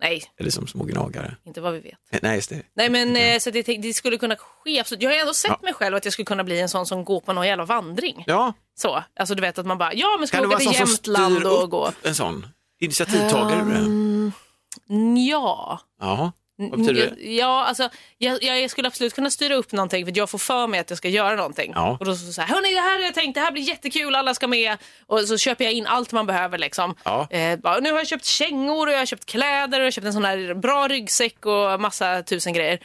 [SPEAKER 1] nej,
[SPEAKER 2] Eller som små gnagare.
[SPEAKER 1] inte vad vi vet.
[SPEAKER 2] Nej, just det.
[SPEAKER 1] Nej men eh, så det, det skulle kunna ske, absolut. Jag har ju ändå sett
[SPEAKER 2] Ja.
[SPEAKER 1] mig själv att jag skulle kunna bli en sån som går på någon jävla vandring.
[SPEAKER 2] Ja,
[SPEAKER 1] Så, alltså du vet att man bara, ja men ska
[SPEAKER 2] kan du
[SPEAKER 1] vi åka
[SPEAKER 2] vara en sån
[SPEAKER 1] till
[SPEAKER 2] som styr
[SPEAKER 1] Jämtland och Ehm,
[SPEAKER 2] upp
[SPEAKER 1] gå?
[SPEAKER 2] en sån? Initiativtagare? Um...
[SPEAKER 1] Ja.
[SPEAKER 2] Jaha, vad betyder det?
[SPEAKER 1] Ja, alltså, jag, jag skulle absolut kunna styra upp någonting för att jag får för mig att jag ska göra någonting.
[SPEAKER 2] Ja.
[SPEAKER 1] Och då så så här, hörni det här har jag tänkt, det här blir jättekul, alla ska med. Och så köper jag in allt man behöver liksom.
[SPEAKER 2] Ja.
[SPEAKER 1] Eh, bara, nu har jag köpt kängor och jag har köpt kläder och jag har köpt en sån här bra ryggsäck och massa tusen grejer.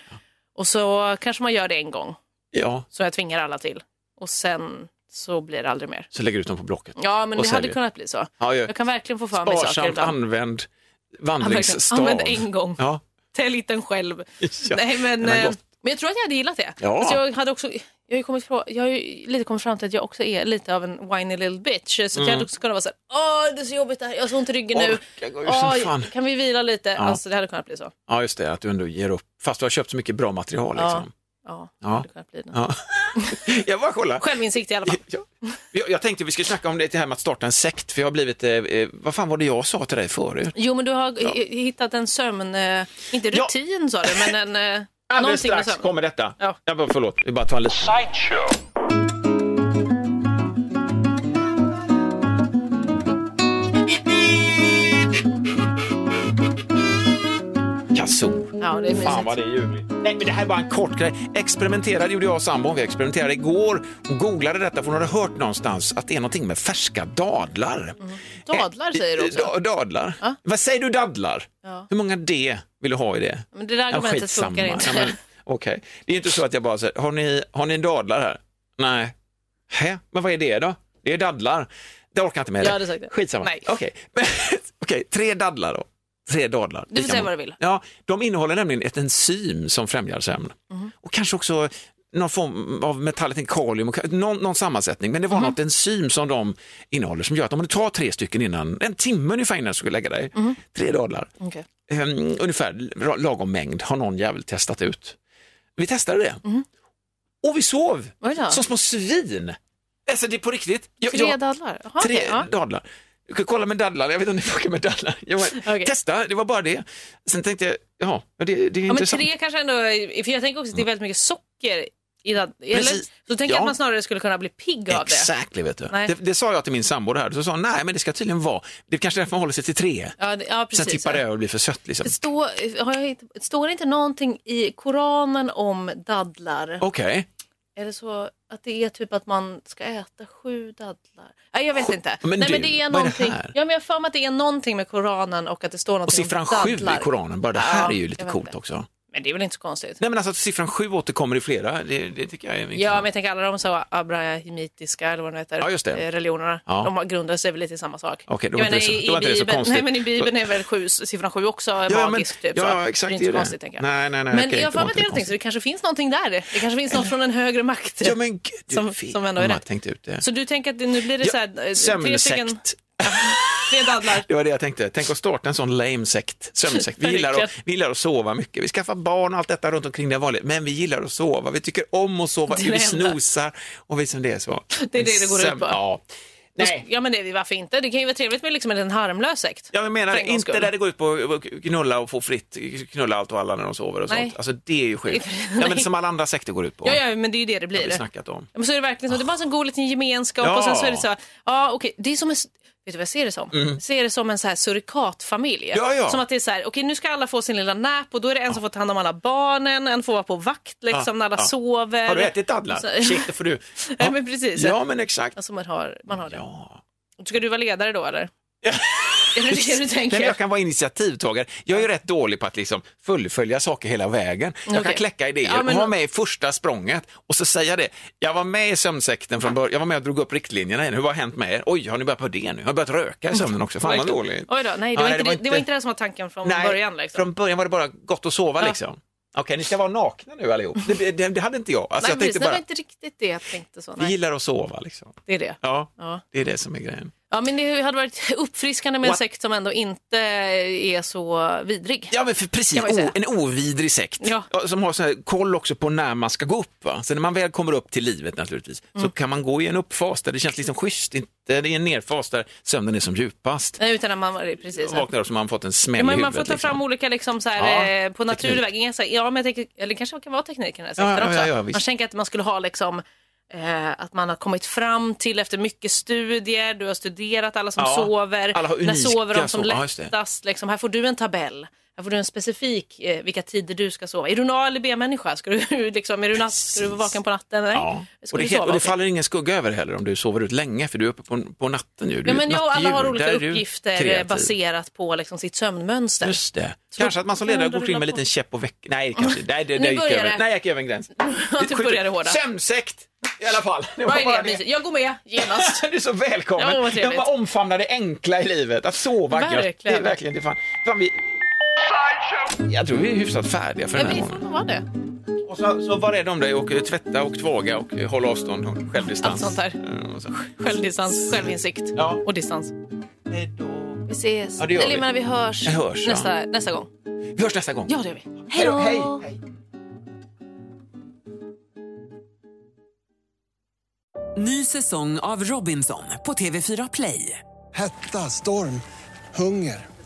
[SPEAKER 1] Och så kanske man gör det en gång,
[SPEAKER 2] Ja,
[SPEAKER 1] som jag tvingar alla till. Och sen så blir det aldrig mer.
[SPEAKER 2] så lägger du ut dem på Blocket.
[SPEAKER 1] Ja, men
[SPEAKER 2] Och
[SPEAKER 1] det hade
[SPEAKER 2] säljer.
[SPEAKER 1] kunnat bli så.
[SPEAKER 2] Ja, ja.
[SPEAKER 1] Jag kan verkligen få för mig saker
[SPEAKER 2] Sparsamt
[SPEAKER 1] ibland.
[SPEAKER 2] använd
[SPEAKER 1] Ja, verkligen.
[SPEAKER 2] vandringsstav.
[SPEAKER 1] Använd en gång.
[SPEAKER 2] Ja.
[SPEAKER 1] Tälj den själv.
[SPEAKER 2] Ja,
[SPEAKER 1] Nej, men,
[SPEAKER 2] den har
[SPEAKER 1] eh,
[SPEAKER 2] gått.
[SPEAKER 1] men jag tror att jag hade gillat det.
[SPEAKER 2] Ja.
[SPEAKER 1] Alltså, jag, hade också, jag, har ju kommit på, jag har ju lite kommit fram till att jag också är lite av en whiny little bitch. Så att
[SPEAKER 2] Mm.
[SPEAKER 1] jag hade också kunnat vara så här, åh det är så jobbigt det här, jag har så ont i ryggen nu.
[SPEAKER 2] Orkar gå ur som
[SPEAKER 1] Åh,
[SPEAKER 2] fan.
[SPEAKER 1] kan vi vila lite? Alltså det hade kunnat bli så.
[SPEAKER 2] ja, just det, att du ändå ger upp. Fast du har köpt så mycket bra material. Liksom.
[SPEAKER 1] Ja, det
[SPEAKER 2] Ja.
[SPEAKER 1] hade kunnat bli det.
[SPEAKER 2] Ja. jag bara kollar.
[SPEAKER 1] Självinsikt i alla fall.
[SPEAKER 2] Ja. Jag, jag tänkte vi skulle snacka om det här med att starta en sekt, för jag har blivit, eh, eh, vad fan var det jag sa till dig förut?
[SPEAKER 1] Jo men du har hi- hittat en sömn, eh, inte
[SPEAKER 2] Ja.
[SPEAKER 1] rutin sa du, men en, eh,
[SPEAKER 2] Alldeles
[SPEAKER 1] någonting med
[SPEAKER 2] strax
[SPEAKER 1] sömn.
[SPEAKER 2] kommer detta.
[SPEAKER 1] Ja.
[SPEAKER 2] Jag bara, förlåt, vi bara tar en liten. Kazoo.
[SPEAKER 1] Ja, det är
[SPEAKER 2] Fan vad
[SPEAKER 1] mysigt.
[SPEAKER 2] det är ljuvligt. Nej, men det här är bara en kort grej. Experimenterade gjorde jag och sambon. Vi experimenterade igår och googlade detta för hon hade hört någonstans att det är någonting med färska dadlar.
[SPEAKER 1] Mm.
[SPEAKER 2] Eh,
[SPEAKER 1] Dadlar säger du också.
[SPEAKER 2] Da- Dadlar. Vad säger du dadlar?
[SPEAKER 1] Ja.
[SPEAKER 2] Hur många D vill du ha i det?
[SPEAKER 1] Men det där argumentet funkar
[SPEAKER 2] skitsamma.
[SPEAKER 1] inte.
[SPEAKER 2] Ja, men, Okej. Det är inte så att jag bara säger, har ni, har ni dadlar här? Nej. Hä? Men vad är det då? Det är dadlar. Det orkar jag inte med.
[SPEAKER 1] Jag
[SPEAKER 2] det.
[SPEAKER 1] hade sagt det.
[SPEAKER 2] Skitsamma.
[SPEAKER 1] Nej.
[SPEAKER 2] Okej, Men- okej, tre dadlar då. Tre dadlar.
[SPEAKER 1] Du får
[SPEAKER 2] Lika
[SPEAKER 1] säga
[SPEAKER 2] många.
[SPEAKER 1] vad du vill.
[SPEAKER 2] Ja, de innehåller nämligen ett enzym som främjar sömn.
[SPEAKER 1] Mhm.
[SPEAKER 2] Och kanske också någon form av metallet, kalium, och ka- någon, någon sammansättning. Men det
[SPEAKER 1] Mhm.
[SPEAKER 2] var något enzym som de innehåller som gör att om du tar tre stycken innan, en timme ungefär innan du skulle lägga dig,
[SPEAKER 1] Mhm.
[SPEAKER 2] tre dadlar,
[SPEAKER 1] Okej.
[SPEAKER 2] ehm, ungefär ra- lagom mängd har någon jävel testat ut. Vi testade det.
[SPEAKER 1] Mhm.
[SPEAKER 2] Och vi sov
[SPEAKER 1] Oj då.
[SPEAKER 2] som små svin. Alltså det är på riktigt. Jag-
[SPEAKER 1] Tre
[SPEAKER 2] jag-
[SPEAKER 1] dadlar? Jaha,
[SPEAKER 2] Tre
[SPEAKER 1] okej, ja.
[SPEAKER 2] dadlar. Du kan kolla med dadlar, jag vet inte om det funkar med dadlar. Jag bara,
[SPEAKER 1] Okej.
[SPEAKER 2] Testa, det var bara det. Sen tänkte jag, ja, det, det är
[SPEAKER 1] Ja, men
[SPEAKER 2] intressant.
[SPEAKER 1] tre kanske ändå, är- för jag tänker också att det är väldigt mycket socker i dadlar. Eller?
[SPEAKER 2] Precis.
[SPEAKER 1] Så tänker jag
[SPEAKER 2] Ja.
[SPEAKER 1] att man snarare skulle kunna bli pigg av det.
[SPEAKER 2] Exakt, vet du.
[SPEAKER 1] Nej.
[SPEAKER 2] Det, det sa jag till min sambo det här, så sa hon, nej men det ska tydligen vara, det är kanske därför man håller sig till tre.
[SPEAKER 1] Ja, det, ja
[SPEAKER 2] Sen
[SPEAKER 1] precis.
[SPEAKER 2] tippar det över och blir för sött liksom.
[SPEAKER 1] Det står- har jag inte- Står det inte någonting i Koranen om dadlar?
[SPEAKER 2] Okej,
[SPEAKER 1] Är det så att det är typ att man ska äta sju dadlar? Nej, jag vet inte.
[SPEAKER 2] men
[SPEAKER 1] Nej,
[SPEAKER 2] du,
[SPEAKER 1] men det
[SPEAKER 2] vad är
[SPEAKER 1] är
[SPEAKER 2] det
[SPEAKER 1] någonting.
[SPEAKER 2] här?
[SPEAKER 1] ja, men jag har för mig att det är någonting med Koranen och att det står
[SPEAKER 2] och
[SPEAKER 1] någonting
[SPEAKER 2] siffran
[SPEAKER 1] om
[SPEAKER 2] sju i
[SPEAKER 1] dadlar.
[SPEAKER 2] Koranen, bara det här
[SPEAKER 1] Ja,
[SPEAKER 2] är ju
[SPEAKER 1] jag
[SPEAKER 2] lite
[SPEAKER 1] vet
[SPEAKER 2] coolt
[SPEAKER 1] det.
[SPEAKER 2] också.
[SPEAKER 1] Men det är väl inte så konstigt?
[SPEAKER 2] Nej men alltså att siffran sju återkommer i flera, det, det tycker jag är
[SPEAKER 1] Ja,
[SPEAKER 2] intressant.
[SPEAKER 1] men jag tänker alla de så abrahamitiska eller vad de heter,
[SPEAKER 2] Liksom. Ja, just det.
[SPEAKER 1] eh, religionerna,
[SPEAKER 2] Ja.
[SPEAKER 1] de har- grundar sig väl lite i samma sak.
[SPEAKER 2] Okej, då
[SPEAKER 1] jag
[SPEAKER 2] var inte det så-
[SPEAKER 1] i,
[SPEAKER 2] då var
[SPEAKER 1] i
[SPEAKER 2] inte det så
[SPEAKER 1] Bibeln,
[SPEAKER 2] konstigt.
[SPEAKER 1] nej, men i Bibeln är väl sju, siffran sju också
[SPEAKER 2] ja,
[SPEAKER 1] magisk. typ, så.
[SPEAKER 2] ja, ja, exakt.
[SPEAKER 1] det är
[SPEAKER 2] det
[SPEAKER 1] inte så konstigt, tänker jag.
[SPEAKER 2] Nej, nej, nej.
[SPEAKER 1] men
[SPEAKER 2] okej,
[SPEAKER 1] jag har
[SPEAKER 2] det
[SPEAKER 1] för
[SPEAKER 2] var
[SPEAKER 1] mig att
[SPEAKER 2] inte
[SPEAKER 1] det är någonting, så det kanske finns någonting där. Det kanske finns något från en högre makt.
[SPEAKER 2] Ja, men gud,
[SPEAKER 1] som-
[SPEAKER 2] som,
[SPEAKER 1] som ändå är
[SPEAKER 2] är
[SPEAKER 1] rätt.
[SPEAKER 2] rätt. tänkt ut det.
[SPEAKER 1] Så du tänker att det, nu blir det
[SPEAKER 2] Ja,
[SPEAKER 1] så här, eh, tre stycken,
[SPEAKER 2] Sömnsekt.
[SPEAKER 1] tre dadlar.
[SPEAKER 2] Det var det jag tänkte. Tänk att starta en sån lame sekt, sömnsekt. Vi gillar, att,
[SPEAKER 1] Verkligen.
[SPEAKER 2] vi gillar att sova mycket. Vi skaffar barn och allt detta runt omkring det vanliga. Men vi gillar att sova. Vi tycker om att sova.
[SPEAKER 1] Det är det
[SPEAKER 2] Vi
[SPEAKER 1] enda.
[SPEAKER 2] snosar och vi som det är så.
[SPEAKER 1] Det är det det går ut
[SPEAKER 2] Sömn-
[SPEAKER 1] på.
[SPEAKER 2] Ja. Nej.
[SPEAKER 1] Ja, men det, varför inte? Det kan ju vara trevligt med liksom en liten harmlös sekt.
[SPEAKER 2] Jag menar
[SPEAKER 1] För
[SPEAKER 2] det.
[SPEAKER 1] en gångs
[SPEAKER 2] inte
[SPEAKER 1] skull.
[SPEAKER 2] där det går ut på att knulla och få fritt, knulla allt och alla när de sover och
[SPEAKER 1] Nej.
[SPEAKER 2] sånt. Alltså det är ju sjukt.
[SPEAKER 1] Nej.
[SPEAKER 2] Ja, men som alla andra sekter går ut på.
[SPEAKER 1] Ja, ja, men det är ju det det
[SPEAKER 2] Det har vi
[SPEAKER 1] blir.
[SPEAKER 2] snackat om.
[SPEAKER 1] Ja, Men så är det verkligen så. Det är bara en god liten gemenskap
[SPEAKER 2] Ja. Mm.
[SPEAKER 1] och sen så är det så här, ja okej, det är som en, vet du vad jag ser det som? Jag ser det som en så här surikatfamilj.
[SPEAKER 2] Ja, ja.
[SPEAKER 1] Som att det är så här, okej nu ska alla få sin lilla nap och då är det en som får ta hand om alla barnen, en får vara på vakt liksom
[SPEAKER 2] Ja,
[SPEAKER 1] när alla
[SPEAKER 2] ja.
[SPEAKER 1] sover.
[SPEAKER 2] Ah, Har du ätit dadlar?
[SPEAKER 1] Och så-
[SPEAKER 2] Shit, det får du.
[SPEAKER 1] Ja, men precis.
[SPEAKER 2] Ja, men exakt.
[SPEAKER 1] Alltså man har, man har det.
[SPEAKER 2] Ja.
[SPEAKER 1] Ska du vara ledare då eller? är det det du
[SPEAKER 2] Nej, men
[SPEAKER 1] tänker?
[SPEAKER 2] jag kan vara initiativtagare. Jag är ju rätt dålig på att liksom fullfölja saker hela vägen. Jag
[SPEAKER 1] Okej.
[SPEAKER 2] kan kläcka idéer
[SPEAKER 1] Ja,
[SPEAKER 2] och
[SPEAKER 1] men-
[SPEAKER 2] vara med i första språnget och så säga det. Jag var med i sömnsekten från början. Jag var med och drog upp riktlinjerna. igen. Hur vad har hänt med er? Oj, har ni börjat på det nu? Har ni börjat röka i sömnen också? Fan vad
[SPEAKER 1] Verkligen.
[SPEAKER 2] dåligt.
[SPEAKER 1] Oj då, nej det
[SPEAKER 2] Ja,
[SPEAKER 1] var, inte, det, det var inte det som var tanken från
[SPEAKER 2] Nej,
[SPEAKER 1] början. Liksom.
[SPEAKER 2] Från början var det bara gott att sova
[SPEAKER 1] Ja.
[SPEAKER 2] liksom. Okej, ni ska vara nakna nu allihop. Det, det, det hade inte jag. Alltså,
[SPEAKER 1] nej,
[SPEAKER 2] jag
[SPEAKER 1] precis,
[SPEAKER 2] tänkte
[SPEAKER 1] det var
[SPEAKER 2] bara,
[SPEAKER 1] inte riktigt det jag tänkte så.
[SPEAKER 2] vi
[SPEAKER 1] Nej,
[SPEAKER 2] gillar att sova liksom.
[SPEAKER 1] det är det.
[SPEAKER 2] Ja,
[SPEAKER 1] Ja.
[SPEAKER 2] det är det som är grejen.
[SPEAKER 1] Ja, men det hade varit uppfriskande med en
[SPEAKER 2] What?
[SPEAKER 1] sekt som ändå inte är så vidrig.
[SPEAKER 2] Ja, men för precis.
[SPEAKER 1] Kan man ju säga.
[SPEAKER 2] O, en ovidrig sekt
[SPEAKER 1] Ja.
[SPEAKER 2] Ja, som har så här koll också på när man ska gå upp. Va? Så när man väl kommer upp till livet naturligtvis
[SPEAKER 1] Mm.
[SPEAKER 2] så kan man gå i en uppfas där det känns liksom schysst. Inte, det är en nerfas där sömnen är som djupast.
[SPEAKER 1] Nej, utan att man precis.
[SPEAKER 2] Och vaknar upp så man har fått en smäll
[SPEAKER 1] Eh, Ja, men
[SPEAKER 2] i
[SPEAKER 1] man
[SPEAKER 2] huvudet.
[SPEAKER 1] får ta fram
[SPEAKER 2] liksom.
[SPEAKER 1] olika liksom, så här,
[SPEAKER 2] Ja,
[SPEAKER 1] eh, på naturlig
[SPEAKER 2] teknik.
[SPEAKER 1] väg. Inga, så här, ja, men jag tänker, eller det kanske kan vara tekniken i den här
[SPEAKER 2] Ja,
[SPEAKER 1] sektorn
[SPEAKER 2] ja,
[SPEAKER 1] också.
[SPEAKER 2] ja, ja, visst.
[SPEAKER 1] man tänker att man skulle ha liksom, eh, att man har kommit fram till efter mycket studier, du har studerat alla som
[SPEAKER 2] Ja,
[SPEAKER 1] sover,
[SPEAKER 2] alla har
[SPEAKER 1] när
[SPEAKER 2] unika
[SPEAKER 1] sover de som
[SPEAKER 2] sov- ja, just det.
[SPEAKER 1] lättast, liksom, här får du en tabell. Här får du en specifik, eh, vilka tider du ska sova. Är du en A eller B-människa? Ska du, liksom, är du natt, ska du vara vaken på natten? Eller?
[SPEAKER 2] Ja.
[SPEAKER 1] Ska
[SPEAKER 2] Och det,
[SPEAKER 1] du
[SPEAKER 2] kan,
[SPEAKER 1] sova
[SPEAKER 2] och det
[SPEAKER 1] också?
[SPEAKER 2] faller ingen skugga över heller om du sover ut länge för du är uppe på, på natten ju. Du
[SPEAKER 1] Ja,
[SPEAKER 2] är
[SPEAKER 1] men
[SPEAKER 2] ett
[SPEAKER 1] jag och alla har
[SPEAKER 2] nattdjur.
[SPEAKER 1] olika
[SPEAKER 2] Där är du
[SPEAKER 1] uppgifter eh,
[SPEAKER 2] kreativ.
[SPEAKER 1] baserat på liksom, sitt sömnmönster.
[SPEAKER 2] Just det.
[SPEAKER 1] Så
[SPEAKER 2] kanske
[SPEAKER 1] då-
[SPEAKER 2] att man som
[SPEAKER 1] då
[SPEAKER 2] ledare
[SPEAKER 1] rullar
[SPEAKER 2] går omkring med en
[SPEAKER 1] på.
[SPEAKER 2] liten käpp och väcker. Nej, kanske Nej, det,
[SPEAKER 1] Nu
[SPEAKER 2] det gick jag
[SPEAKER 1] börjar
[SPEAKER 2] över.
[SPEAKER 1] det.
[SPEAKER 2] Nej, jag gick över en gräns.
[SPEAKER 1] Nu börjar det hårda.
[SPEAKER 2] Sömnsekt i alla fall. Det var
[SPEAKER 1] Vad är
[SPEAKER 2] bara
[SPEAKER 1] det? mysigt? Jag går med genast.
[SPEAKER 2] Du är så välkommen.
[SPEAKER 1] Ja, vad trevligt.
[SPEAKER 2] jag bara omfamnar det enkla i livet. Att sova gött. Det
[SPEAKER 1] Verkligen.
[SPEAKER 2] är verkligen det är fan. fan vi... Jag tror vi är hyfsat färdiga för
[SPEAKER 1] Ja,
[SPEAKER 2] den här
[SPEAKER 1] vi
[SPEAKER 2] morgonen.
[SPEAKER 1] får vara det.
[SPEAKER 2] Och så, så var rädd om dig och eh, tvätta och tvaga och eh, hålla avstånd och självdistans.
[SPEAKER 1] Allt sånt där.
[SPEAKER 2] Eh, och så.
[SPEAKER 1] Självdistans, självinsikt
[SPEAKER 2] Ja.
[SPEAKER 1] och distans.
[SPEAKER 2] Hej då.
[SPEAKER 1] Vi ses.
[SPEAKER 2] Ja, det gör
[SPEAKER 1] Eller
[SPEAKER 2] vi.
[SPEAKER 1] jag menar vi hörs,
[SPEAKER 2] Vi hörs,
[SPEAKER 1] nästa, nästa gång.
[SPEAKER 2] Vi hörs nästa gång.
[SPEAKER 1] Ja, det gör vi.
[SPEAKER 2] Hej då. Hej.
[SPEAKER 1] då.
[SPEAKER 2] Hej.
[SPEAKER 5] Ny säsong av Robinson på TV4 Play.
[SPEAKER 6] Hetta, storm, hunger.